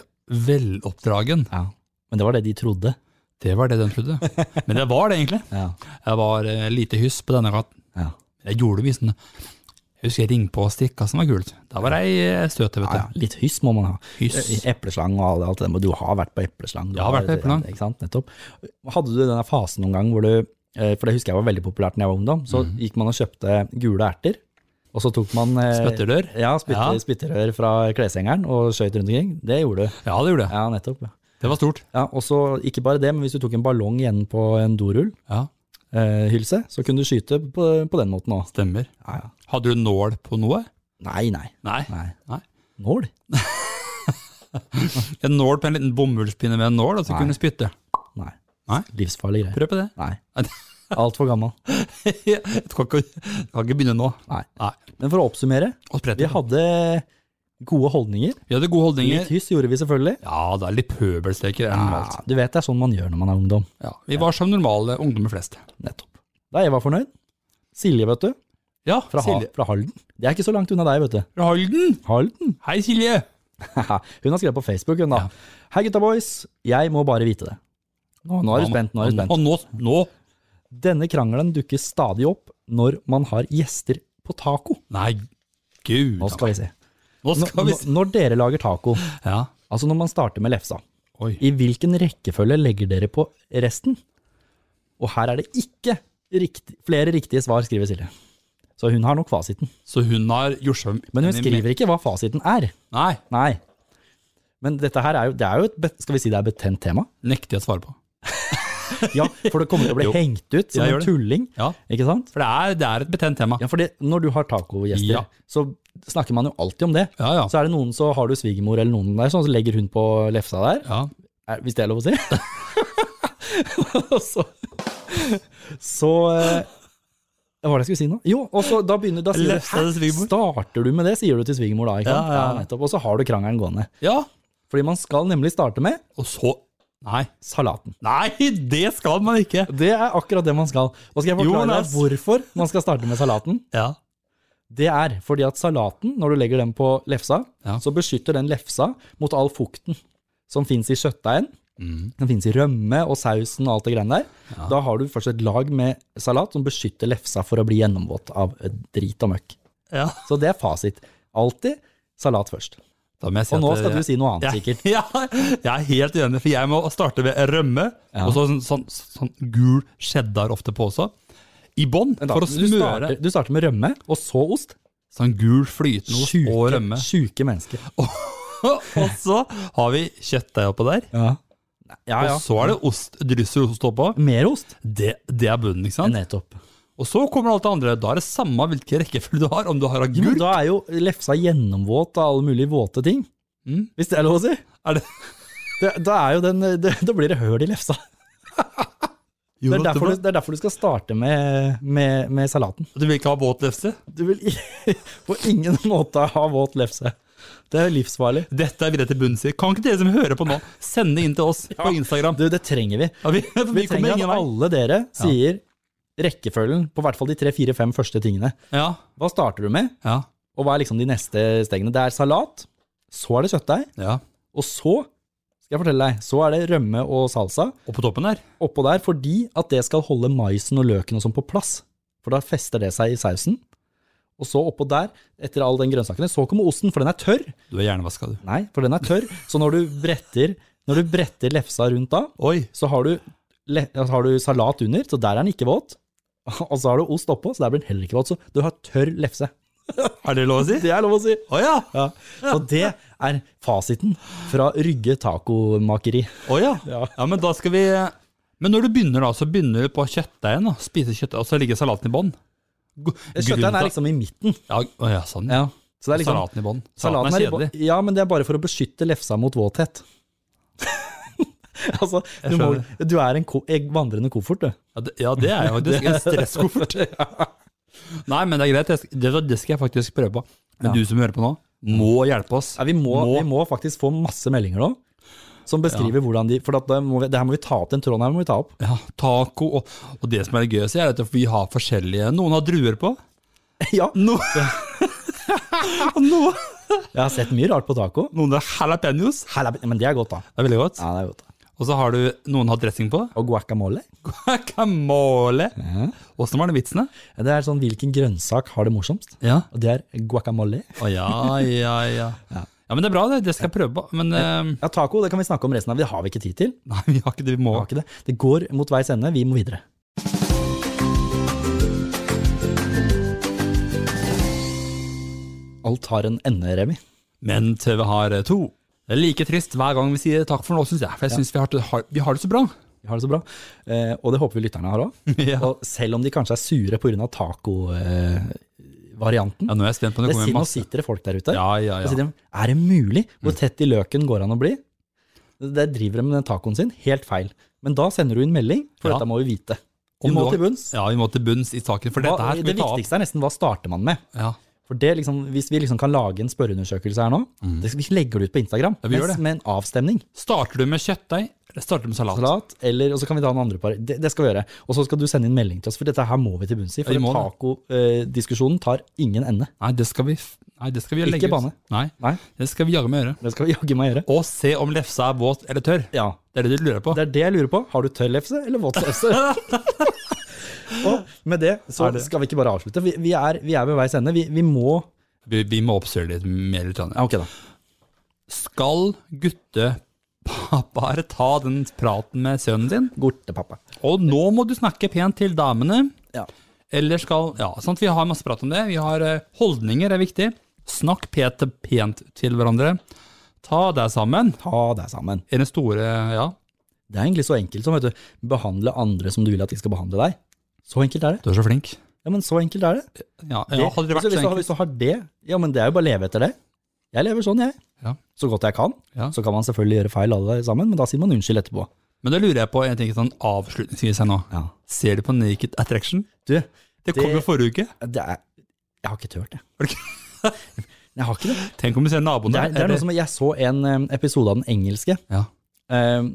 Speaker 1: veloppdragen.
Speaker 2: Ja. Men det var det de trodde.
Speaker 1: Det var det de
Speaker 2: [LAUGHS]
Speaker 1: trodde. Men det var det egentlig.
Speaker 2: Ja.
Speaker 1: Jeg var eh, lite hyss på denne gaten.
Speaker 2: Ja.
Speaker 1: Jeg gjorde det visende. Jeg husker jeg ringte på og stikka som var gult. Da var jeg eh, støtet, vet du.
Speaker 2: Litt hyss må man ha.
Speaker 1: Hyss.
Speaker 2: Epleslang og alt det- alt det der, men du har vært på epleslang. Du
Speaker 1: Jeg har vært på epleslang.
Speaker 2: Ikke sant, nettopp. Hadde du den der fasen noen gang hvor du, eh, for det husker jeg var veldig populært når jeg var ungdom, så gikk man og kjøpte gule erter, og så tok man eh,
Speaker 1: Spytterør?
Speaker 2: Ja, spytter,
Speaker 1: Ja.
Speaker 2: spytterør fra kleshengeren og skøyt rundt omkring. Det gjorde du.
Speaker 1: Ja, det gjorde jeg.
Speaker 2: Ja, nettopp. ja.
Speaker 1: Det var stort.
Speaker 2: Ja, og så ikke bare det, men hvis du tok en ballong igjen på en dorull,
Speaker 1: Ja,
Speaker 2: eh, hylse, så kunne du skyte på, på den måten òg.
Speaker 1: stemmer.
Speaker 2: Ja, ja.
Speaker 1: Hadde du nål på noe?
Speaker 2: Nei, nei.
Speaker 1: Nei.
Speaker 2: Nei.
Speaker 1: Nei.
Speaker 2: Nål?
Speaker 1: En nål på en liten bomullspinne med en nål, og så
Speaker 2: Nei.
Speaker 1: kunne du spytte.
Speaker 2: Nei.
Speaker 1: Nei?
Speaker 2: Livsfarlig greie.
Speaker 1: Prøv på
Speaker 2: [LAUGHS]
Speaker 1: det.
Speaker 2: Nei. Altfor gammel.
Speaker 1: Jeg kan ikke, jeg kan ikke begynne nå.
Speaker 2: Nei.
Speaker 1: Nei.
Speaker 2: Men for å oppsummere,
Speaker 1: Og sprette.
Speaker 2: vi hadde gode holdninger.
Speaker 1: Vi hadde gode
Speaker 2: Litt
Speaker 1: holdninger.
Speaker 2: hyss gjorde vi selvfølgelig.
Speaker 1: Ja, det er litt pøbelstreker.
Speaker 2: Ja,
Speaker 1: Ja.
Speaker 2: du vet det er sånn man gjør når man er ungdom.
Speaker 1: Ja, vi var som normale ungdommer flest.
Speaker 2: Nettopp. Da jeg var fornøyd. Silje, vet du.
Speaker 1: Ja,
Speaker 2: Fra, ha
Speaker 1: Silje.
Speaker 2: fra Halden. Det er ikke så langt unna deg, vet du.
Speaker 1: Fra Halden.
Speaker 2: Halden?
Speaker 1: Hei, Silje.
Speaker 2: [LAUGHS] hun har skrevet på Facebook, hun da. Hei gutta boys, jeg må bare vite det. Nå, nå er du spent, nå er du spent.
Speaker 1: Og nå, nå
Speaker 2: Denne krangelen dukker stadig opp når man har gjester på taco.
Speaker 1: Nei, gud.
Speaker 2: Nå skal vi se.
Speaker 1: Nå
Speaker 2: Når,
Speaker 1: skal vi
Speaker 2: når- når dere lager taco,
Speaker 1: Ja.
Speaker 2: altså når man starter med lefsa,
Speaker 1: Oi.
Speaker 2: i hvilken rekkefølge legger dere på resten? Og her er det ikke riktig, flere riktige svar, skriver Silje. Så hun har nok fasiten.
Speaker 1: Så hun har gjort seg
Speaker 2: Men hun skriver ikke hva fasiten er.
Speaker 1: Nei,
Speaker 2: Nei. Men dette her er jo, det er jo et, bet- skal vi si det er et betent tema?
Speaker 1: nekter jeg å svare på.
Speaker 2: Ja, for det kommer til å bli
Speaker 1: [LAUGHS] Jo.
Speaker 2: hengt ut som
Speaker 1: Jeg gjør
Speaker 2: en
Speaker 1: det.
Speaker 2: tulling,
Speaker 1: Ja,
Speaker 2: ikke sant?
Speaker 1: for det er, det er et betent tema.
Speaker 2: Ja, for det, når du har tacogjester,
Speaker 1: Ja.
Speaker 2: så snakker man jo alltid om det.
Speaker 1: Ja, ja.
Speaker 2: Så er det noen, så har du svigermor eller noen der, sånn, så legger hun på lefsa der,
Speaker 1: ja.
Speaker 2: er, Eh, hvis det er lov å si. [LAUGHS] Og så, så eh, Hva var det jeg skulle si nå? Jo, og så da begynner da sier du,
Speaker 1: Lefsa til
Speaker 2: «Hæ?
Speaker 1: svigermor?»
Speaker 2: Starter du med det, sier du til svigermor da, ikke
Speaker 1: Ja,
Speaker 2: sant?
Speaker 1: ja, ja.
Speaker 2: nettopp. Og så har du krangelen gående.
Speaker 1: ja.
Speaker 2: Fordi man skal nemlig starte med
Speaker 1: Og så Nei.
Speaker 2: salaten.
Speaker 1: Nei, det skal man ikke!
Speaker 2: Det er akkurat det man skal. Og skal jeg forklare deg
Speaker 1: Jonas.
Speaker 2: hvorfor man skal starte med salaten?
Speaker 1: Ja.
Speaker 2: Det er fordi at salaten, når du legger den på lefsa,
Speaker 1: Ja.
Speaker 2: så beskytter den lefsa mot all fukten som fins i kjøttdeigen.
Speaker 1: Mm.
Speaker 2: Den fins i rømme og sausen og alt det greiene der.
Speaker 1: Ja.
Speaker 2: Da har du først et lag med salat som beskytter lefsa for å bli gjennomvåt av eh, drit og møkk.
Speaker 1: ja.
Speaker 2: Så det er fasit. Alltid salat først.
Speaker 1: Da må jeg si
Speaker 2: Og nå
Speaker 1: at, eh,
Speaker 2: skal du si noe annet,
Speaker 1: jeg,
Speaker 2: sikkert.
Speaker 1: [LAUGHS] Ja, jeg er helt enig, for jeg må starte ved rømme,
Speaker 2: Ja.
Speaker 1: og så sånn, sånn, sånn gul cheddar ofte på også. I bånn,
Speaker 2: Vent da,
Speaker 1: for å
Speaker 2: du,
Speaker 1: smøre
Speaker 2: starter, du starter med rømme, og så ost.
Speaker 1: sånn gul flytende ost
Speaker 2: Sjuke,
Speaker 1: og rømme.
Speaker 2: sjuke mennesker.
Speaker 1: [LAUGHS] og så har vi kjøttdeig oppå der,
Speaker 2: Ja, ja. ja.
Speaker 1: og så er det ost, drysser ost oppå.
Speaker 2: Mer ost.
Speaker 1: Det, det er bunnen, ikke sant?
Speaker 2: Nettopp.
Speaker 1: Og så kommer alt det andre. Da er det samme hvilken rekkefølge du har, om du har
Speaker 2: Jo,
Speaker 1: agurk.
Speaker 2: da er jo lefsa gjennomvåt av alle mulige våte ting.
Speaker 1: Mm.
Speaker 2: Hvis det er lov å si.
Speaker 1: Er det,
Speaker 2: Det, da, er jo den, eh, det, [LAUGHS] da blir det høl i lefsa. Det er
Speaker 1: Jonas,
Speaker 2: derfor du, det er derfor du skal starte med, med, med salaten.
Speaker 1: du vil ikke ha våt lefse?
Speaker 2: Du vil i- [LAUGHS] på ingen måte ha våt lefse. Det er livsfarlig.
Speaker 1: Dette er vi rett til bunns i. Kan ikke dere som hører på nå, sende inn til oss
Speaker 2: [LAUGHS]
Speaker 1: på Instagram?
Speaker 2: Du, det trenger vi.
Speaker 1: Ja, vi, for
Speaker 2: Vi
Speaker 1: vi kommer
Speaker 2: trenger
Speaker 1: ingen
Speaker 2: at
Speaker 1: vei.
Speaker 2: alle dere sier rekkefølgen på hvert fall de tre, fire, fem første tingene.
Speaker 1: Ja,
Speaker 2: Hva starter du med,
Speaker 1: ja,
Speaker 2: og hva er liksom de neste stegene? Det er salat, så er det kjøttdeig,
Speaker 1: ja.
Speaker 2: og så skal jeg fortelle deg, så er det rømme og salsa.
Speaker 1: Og på toppen der?
Speaker 2: oppå der fordi at det skal holde maisen og løken og sånn på plass. For da fester det seg i sausen. Og så oppå der, etter all den grønnsakene, så kommer osten, for den er tørr.
Speaker 1: Du er hjernevaska, du.
Speaker 2: Nei, for den er tørr. Så når du bretter, når du bretter lefsa rundt da,
Speaker 1: Oi.
Speaker 2: så har du, le- så har du salat under, så der er den ikke våt. [LAUGHS] Og så har du ost oppå, så der blir den heller ikke våt. Så du har tørr lefse.
Speaker 1: Er det lov å si?
Speaker 2: Det er lov å si.
Speaker 1: Å ja.
Speaker 2: Ja. Og det er fasiten fra Rygge tacomakeri.
Speaker 1: Å ja.
Speaker 2: Ja.
Speaker 1: ja, men da skal vi Men når du begynner, da, så begynner du på kjøttdeigen. da. Spise kjøttdeig, og så ligger salaten i bånn. Go-
Speaker 2: Kjøttdeigen
Speaker 1: grunnen
Speaker 2: er
Speaker 1: til-
Speaker 2: liksom i midten.
Speaker 1: ja, å ja, sånn.
Speaker 2: Ja. Så det er liksom
Speaker 1: Salaten i bånn.
Speaker 2: Salaten er i
Speaker 1: kjedelig.
Speaker 2: bo- Ja, men det er bare for å beskytte lefsa mot våthet. [LAUGHS] altså,
Speaker 1: Jeg
Speaker 2: du, må, du er en ko, en vandrende koffert, du.
Speaker 1: Ja, det, ja, det er jo faktisk en stresskoffert.
Speaker 2: [LAUGHS]
Speaker 1: Nei, men det er greit. jeg sk- Det, det skal jeg faktisk prøve på. Men
Speaker 2: Ja.
Speaker 1: du som hører på nå, må hjelpe oss.
Speaker 2: Ja, vi, må,
Speaker 1: Må.
Speaker 2: vi må faktisk få masse meldinger nå, som beskriver hvordan de For at da må vi, det her må vi ta opp, den tråden her må vi [LAUGHS] ta opp.
Speaker 1: Ja, taco og, og det som er gøy å se, er at vi har forskjellige Noen har druer på.
Speaker 2: ja,
Speaker 1: No, [LAUGHS] og noen,
Speaker 2: jeg har sett mye rart på taco.
Speaker 1: noen har jalapeños.
Speaker 2: Jalap- Men det er godt, da.
Speaker 1: Det er veldig godt.
Speaker 2: Ja, det er godt da.
Speaker 1: Og så har du noen har dressing på. [LAUGHS]
Speaker 2: Og guacamole.
Speaker 1: Guacamole. Åssen var det vitsene?
Speaker 2: Det er sånn hvilken grønnsak har det morsomst?
Speaker 1: Ja.
Speaker 2: Og det er guacamole.
Speaker 1: Å ja, ja, ja.
Speaker 2: Ja.
Speaker 1: Ja, men det er bra, det. Det skal jeg prøve på. Men eh,
Speaker 2: Ja, taco det kan vi snakke om resten av, det har vi ikke tid til.
Speaker 1: [LAUGHS] nei, vi har ikke det. Vi må
Speaker 2: Vi har ikke det. Det går mot veis ende, vi må videre. Alt har en ende, Remi.
Speaker 1: Men TV har eh, to. Det er like trist hver gang vi sier takk for nå, syns jeg. For jeg synes vi, har, det- har- vi har det så bra.
Speaker 2: Vi har det så bra. Eh, og det håper vi lytterne har òg.
Speaker 1: Ja.
Speaker 2: Og selv om de kanskje er sure pga. tacoversjonen eh, varianten.
Speaker 1: Ja, nå er jeg spent på
Speaker 2: det
Speaker 1: det.
Speaker 2: er
Speaker 1: kommer
Speaker 2: synd, nå
Speaker 1: masse.
Speaker 2: sitter det folk der ute.
Speaker 1: Ja, Mm. ja,
Speaker 2: Og
Speaker 1: ja.
Speaker 2: sier de, er det mulig? Hvor tett i løken går han å bli? Der driver de med den tacoen sin, helt feil. Men da sender du inn melding, for
Speaker 1: Ja.
Speaker 2: dette må vi vite. Vi
Speaker 1: Om
Speaker 2: må
Speaker 1: du har-
Speaker 2: til bunns.
Speaker 1: Ja, vi må til bunns i saken, for dette
Speaker 2: Hva,
Speaker 1: her skal
Speaker 2: det
Speaker 1: vi ta opp.
Speaker 2: viktigste er nesten hva starter man med.
Speaker 1: Ja.
Speaker 2: For det liksom, Hvis vi liksom kan lage en spørreundersøkelse her nå, det skal vi legger det ut på Instagram
Speaker 1: Mm. Ja, vi gjør
Speaker 2: mens-
Speaker 1: det.
Speaker 2: med en avstemning.
Speaker 1: Starter du med kjøttdeig, eller starter du med salat?
Speaker 2: Salat, eller, og så kan vi ta den andre par. Det, det skal vi gjøre. Og så skal du sende inn melding til oss, for dette her må vi til bunns
Speaker 1: Ja,
Speaker 2: i. For
Speaker 1: vi må
Speaker 2: tacodiskusjonen tar ingen ende.
Speaker 1: Nei, det skal vi, f- nei, det skal vi
Speaker 2: Ikke
Speaker 1: legge ut.
Speaker 2: banne.
Speaker 1: Nei,
Speaker 2: Nei,
Speaker 1: det skal vi jaggu meg gjøre.
Speaker 2: det skal vi jaggu meg gjøre.
Speaker 1: Og se om lefsa er våt eller tørr.
Speaker 2: Ja,
Speaker 1: Det er det du lurer på.
Speaker 2: Det er det jeg lurer på. Har du tørr lefse eller våt
Speaker 1: [LAUGHS]
Speaker 2: lefse? og med det så
Speaker 1: Er det-
Speaker 2: skal vi ikke bare avslutte. Vi, vi, er, vi er ved veis ende. Vi, vi må
Speaker 1: Vi, vi må oppsøke litt mer. Litt.
Speaker 2: Ja, ok, da.
Speaker 1: Skal guttepappaer ta den praten med sønnen din?
Speaker 2: Gortepappa.
Speaker 1: Og nå må du snakke pent til damene.
Speaker 2: Ja.
Speaker 1: Eller skal Ja, sant, vi har masse prat om det. Vi har eh, Holdninger er viktig. Snakk pent, pent til hverandre. Ta deg sammen.
Speaker 2: Ta deg sammen.
Speaker 1: I den store Ja.
Speaker 2: Det er egentlig så enkelt som vet du, behandle andre som du vil at de skal behandle deg. Så enkelt er det.
Speaker 1: Du er så flink.
Speaker 2: Ja, men så enkelt er det.
Speaker 1: Ja, ja hadde det vært sånn- så
Speaker 2: så hvis, du,
Speaker 1: enkelt.
Speaker 2: hvis du har det, ja, men det er jo bare å leve etter det. Jeg lever sånn, jeg.
Speaker 1: Ja.
Speaker 2: Så godt jeg kan.
Speaker 1: Ja.
Speaker 2: Så kan man selvfølgelig gjøre feil alle sammen, men da sier man unnskyld etterpå.
Speaker 1: Men da lurer jeg på en ting sånn avslutningsvis her nå.
Speaker 2: Ja.
Speaker 1: Ser du på Naked Attraction?
Speaker 2: Du,
Speaker 1: Det kom
Speaker 2: Det-
Speaker 1: jo forrige uke.
Speaker 2: det er Jeg har ikke turt,
Speaker 1: Har
Speaker 2: jeg.
Speaker 1: du
Speaker 2: [LAUGHS] Jeg har ikke det.
Speaker 1: Tenk om du ser naboen
Speaker 2: Det
Speaker 1: der.
Speaker 2: er, det er noe som Jeg så en eh, episode av den engelske.
Speaker 1: Ja.
Speaker 2: Eh,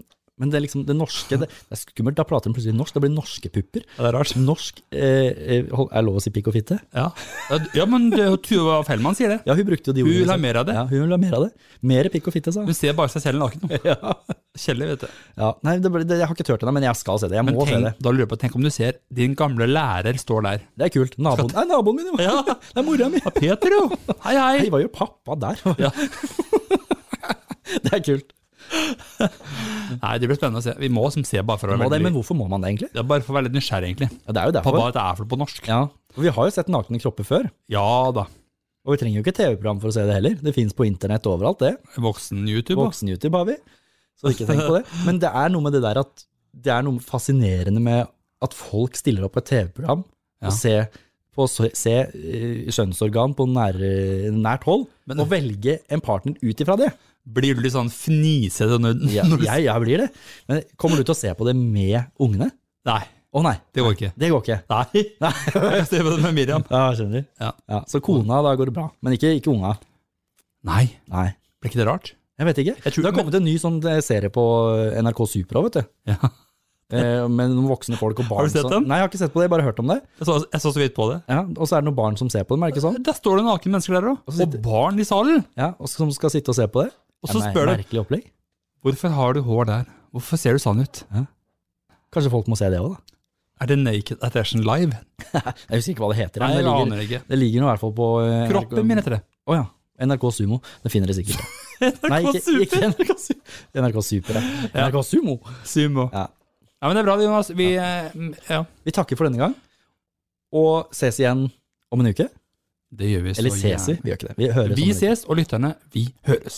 Speaker 2: men det er liksom det norske det, det er skummelt. Da prater de plutselig norsk. Det blir norske pupper.
Speaker 1: Ja, det er rart.
Speaker 2: Norsk eh, eh, hold- Er lov å si pikk og fitte?
Speaker 1: Ja, ja men det, er jo Tuva Fellmann sier det.
Speaker 2: Ja, hun brukte jo de
Speaker 1: Hun vil
Speaker 2: ordene.
Speaker 1: ha mer av det.
Speaker 2: Ja, hun vil ha mer av det. Mer pikk og fitte, sa
Speaker 1: Hun
Speaker 2: hun.
Speaker 1: ser bare seg selv naken. nå.
Speaker 2: [LAUGHS] Ja.
Speaker 1: Kjellig, vet du.
Speaker 2: Ja. Nei, det, ble- det, jeg har ikke turt ennå, men jeg skal se det. Jeg
Speaker 1: Men
Speaker 2: må se det.
Speaker 1: tenk, da lurer jeg på, tenk om du ser din gamle lærer står der.
Speaker 2: Det er kult. Naboen, nei, naboen min, jo!
Speaker 1: Ja.
Speaker 2: [LAUGHS] Det er mora mi!
Speaker 1: Ja, Peter, jo! Hei, hei!
Speaker 2: Hei, hva gjør pappa der?
Speaker 1: [LAUGHS] Ja.
Speaker 2: [LAUGHS] Det er kult.
Speaker 1: Nei, det blir spennende å se. Vi må som se bare for å
Speaker 2: Må
Speaker 1: være
Speaker 2: det, men
Speaker 1: veldig,
Speaker 2: hvorfor må man det, egentlig?
Speaker 1: ja, bare for å være litt nysgjerrig, egentlig.
Speaker 2: Ja, det er jo
Speaker 1: På
Speaker 2: derfor.
Speaker 1: hva det er for noe på norsk.
Speaker 2: Ja. For vi har jo sett nakne kropper før,
Speaker 1: Ja da.
Speaker 2: og vi trenger jo ikke TV-program for å se det heller. Det fins på internett overalt, det.
Speaker 1: Voksen YouTube. også.
Speaker 2: Voksen-YouTube har vi, så ikke tenk på
Speaker 1: [LAUGHS]
Speaker 2: det. Men det er noe med det der at det er noe fascinerende med at folk stiller opp på et TV-program
Speaker 1: Ja.
Speaker 2: og ser på å se eh, kjønnsorgan på nær, nært hold,
Speaker 1: Men-
Speaker 2: og velge en partner ut ifra det.
Speaker 1: Blir du litt sånn fnisete når,
Speaker 2: Jeg,
Speaker 1: når du
Speaker 2: jeg, jeg blir det. Men kommer du til å se på det med ungene?
Speaker 1: Nei,
Speaker 2: Å nei,
Speaker 1: det går ikke.
Speaker 2: det går ikke.
Speaker 1: [LAUGHS] Nei.
Speaker 2: Nei.
Speaker 1: Jeg ser på det med Miriam.
Speaker 2: Ja, skjønner du.
Speaker 1: Ja.
Speaker 2: så kona, da går det bra. Men ikke, ikke unga.
Speaker 1: Nei,
Speaker 2: Nei.
Speaker 1: blir ikke det rart?
Speaker 2: Jeg vet ikke.
Speaker 1: Jeg tror-
Speaker 2: det har kommet en ny sånn eh, serie på NRK Super òg, vet du.
Speaker 1: Ja.
Speaker 2: [LAUGHS] Eh, med noen voksne folk og barn.
Speaker 1: Har du sett
Speaker 2: som-
Speaker 1: den?
Speaker 2: Nei, jeg har ikke sett på det, jeg har bare hørt om det.
Speaker 1: Jeg så, jeg så så vidt på det.
Speaker 2: Ja, og så er det noen barn som ser på dem, er det ikke sånn?
Speaker 1: Der står det nakne mennesker der òg.
Speaker 2: Og så
Speaker 1: Og
Speaker 2: sitter-
Speaker 1: barn i salen.
Speaker 2: Ja, og Som skal sitte og se på det.
Speaker 1: Og så
Speaker 2: Ja, nei,
Speaker 1: spør du
Speaker 2: Merkelig opplegg.
Speaker 1: hvorfor har du hår der? Hvorfor ser du sånn ut?
Speaker 2: Kanskje folk må se det òg, da.
Speaker 1: Er det Naked Attraction Live?
Speaker 2: Jeg husker ikke hva det heter.
Speaker 1: Nei, jeg
Speaker 2: men det, ligger,
Speaker 1: aner ikke.
Speaker 2: det ligger nå i hvert fall på eh,
Speaker 1: Kroppen min [LAUGHS] heter det.
Speaker 2: Å ja. NRK Sumo. Det finner dere sikkert. Nei, ikke, ikke NRK Super. NRK Super, ja. NRK Sumo.
Speaker 1: Sumo.
Speaker 2: Ja.
Speaker 1: Ja, men det er bra, Jonas. Vi eh, Ja.
Speaker 2: Vi takker for denne gang, og ses igjen om en uke.
Speaker 1: Det gjør vi så
Speaker 2: Eller ses vi,
Speaker 1: gjerne. sånn
Speaker 2: vi gjør ikke det. Vi høres om en
Speaker 1: Vi
Speaker 2: uke.
Speaker 1: ses, og lytterne, vi høres.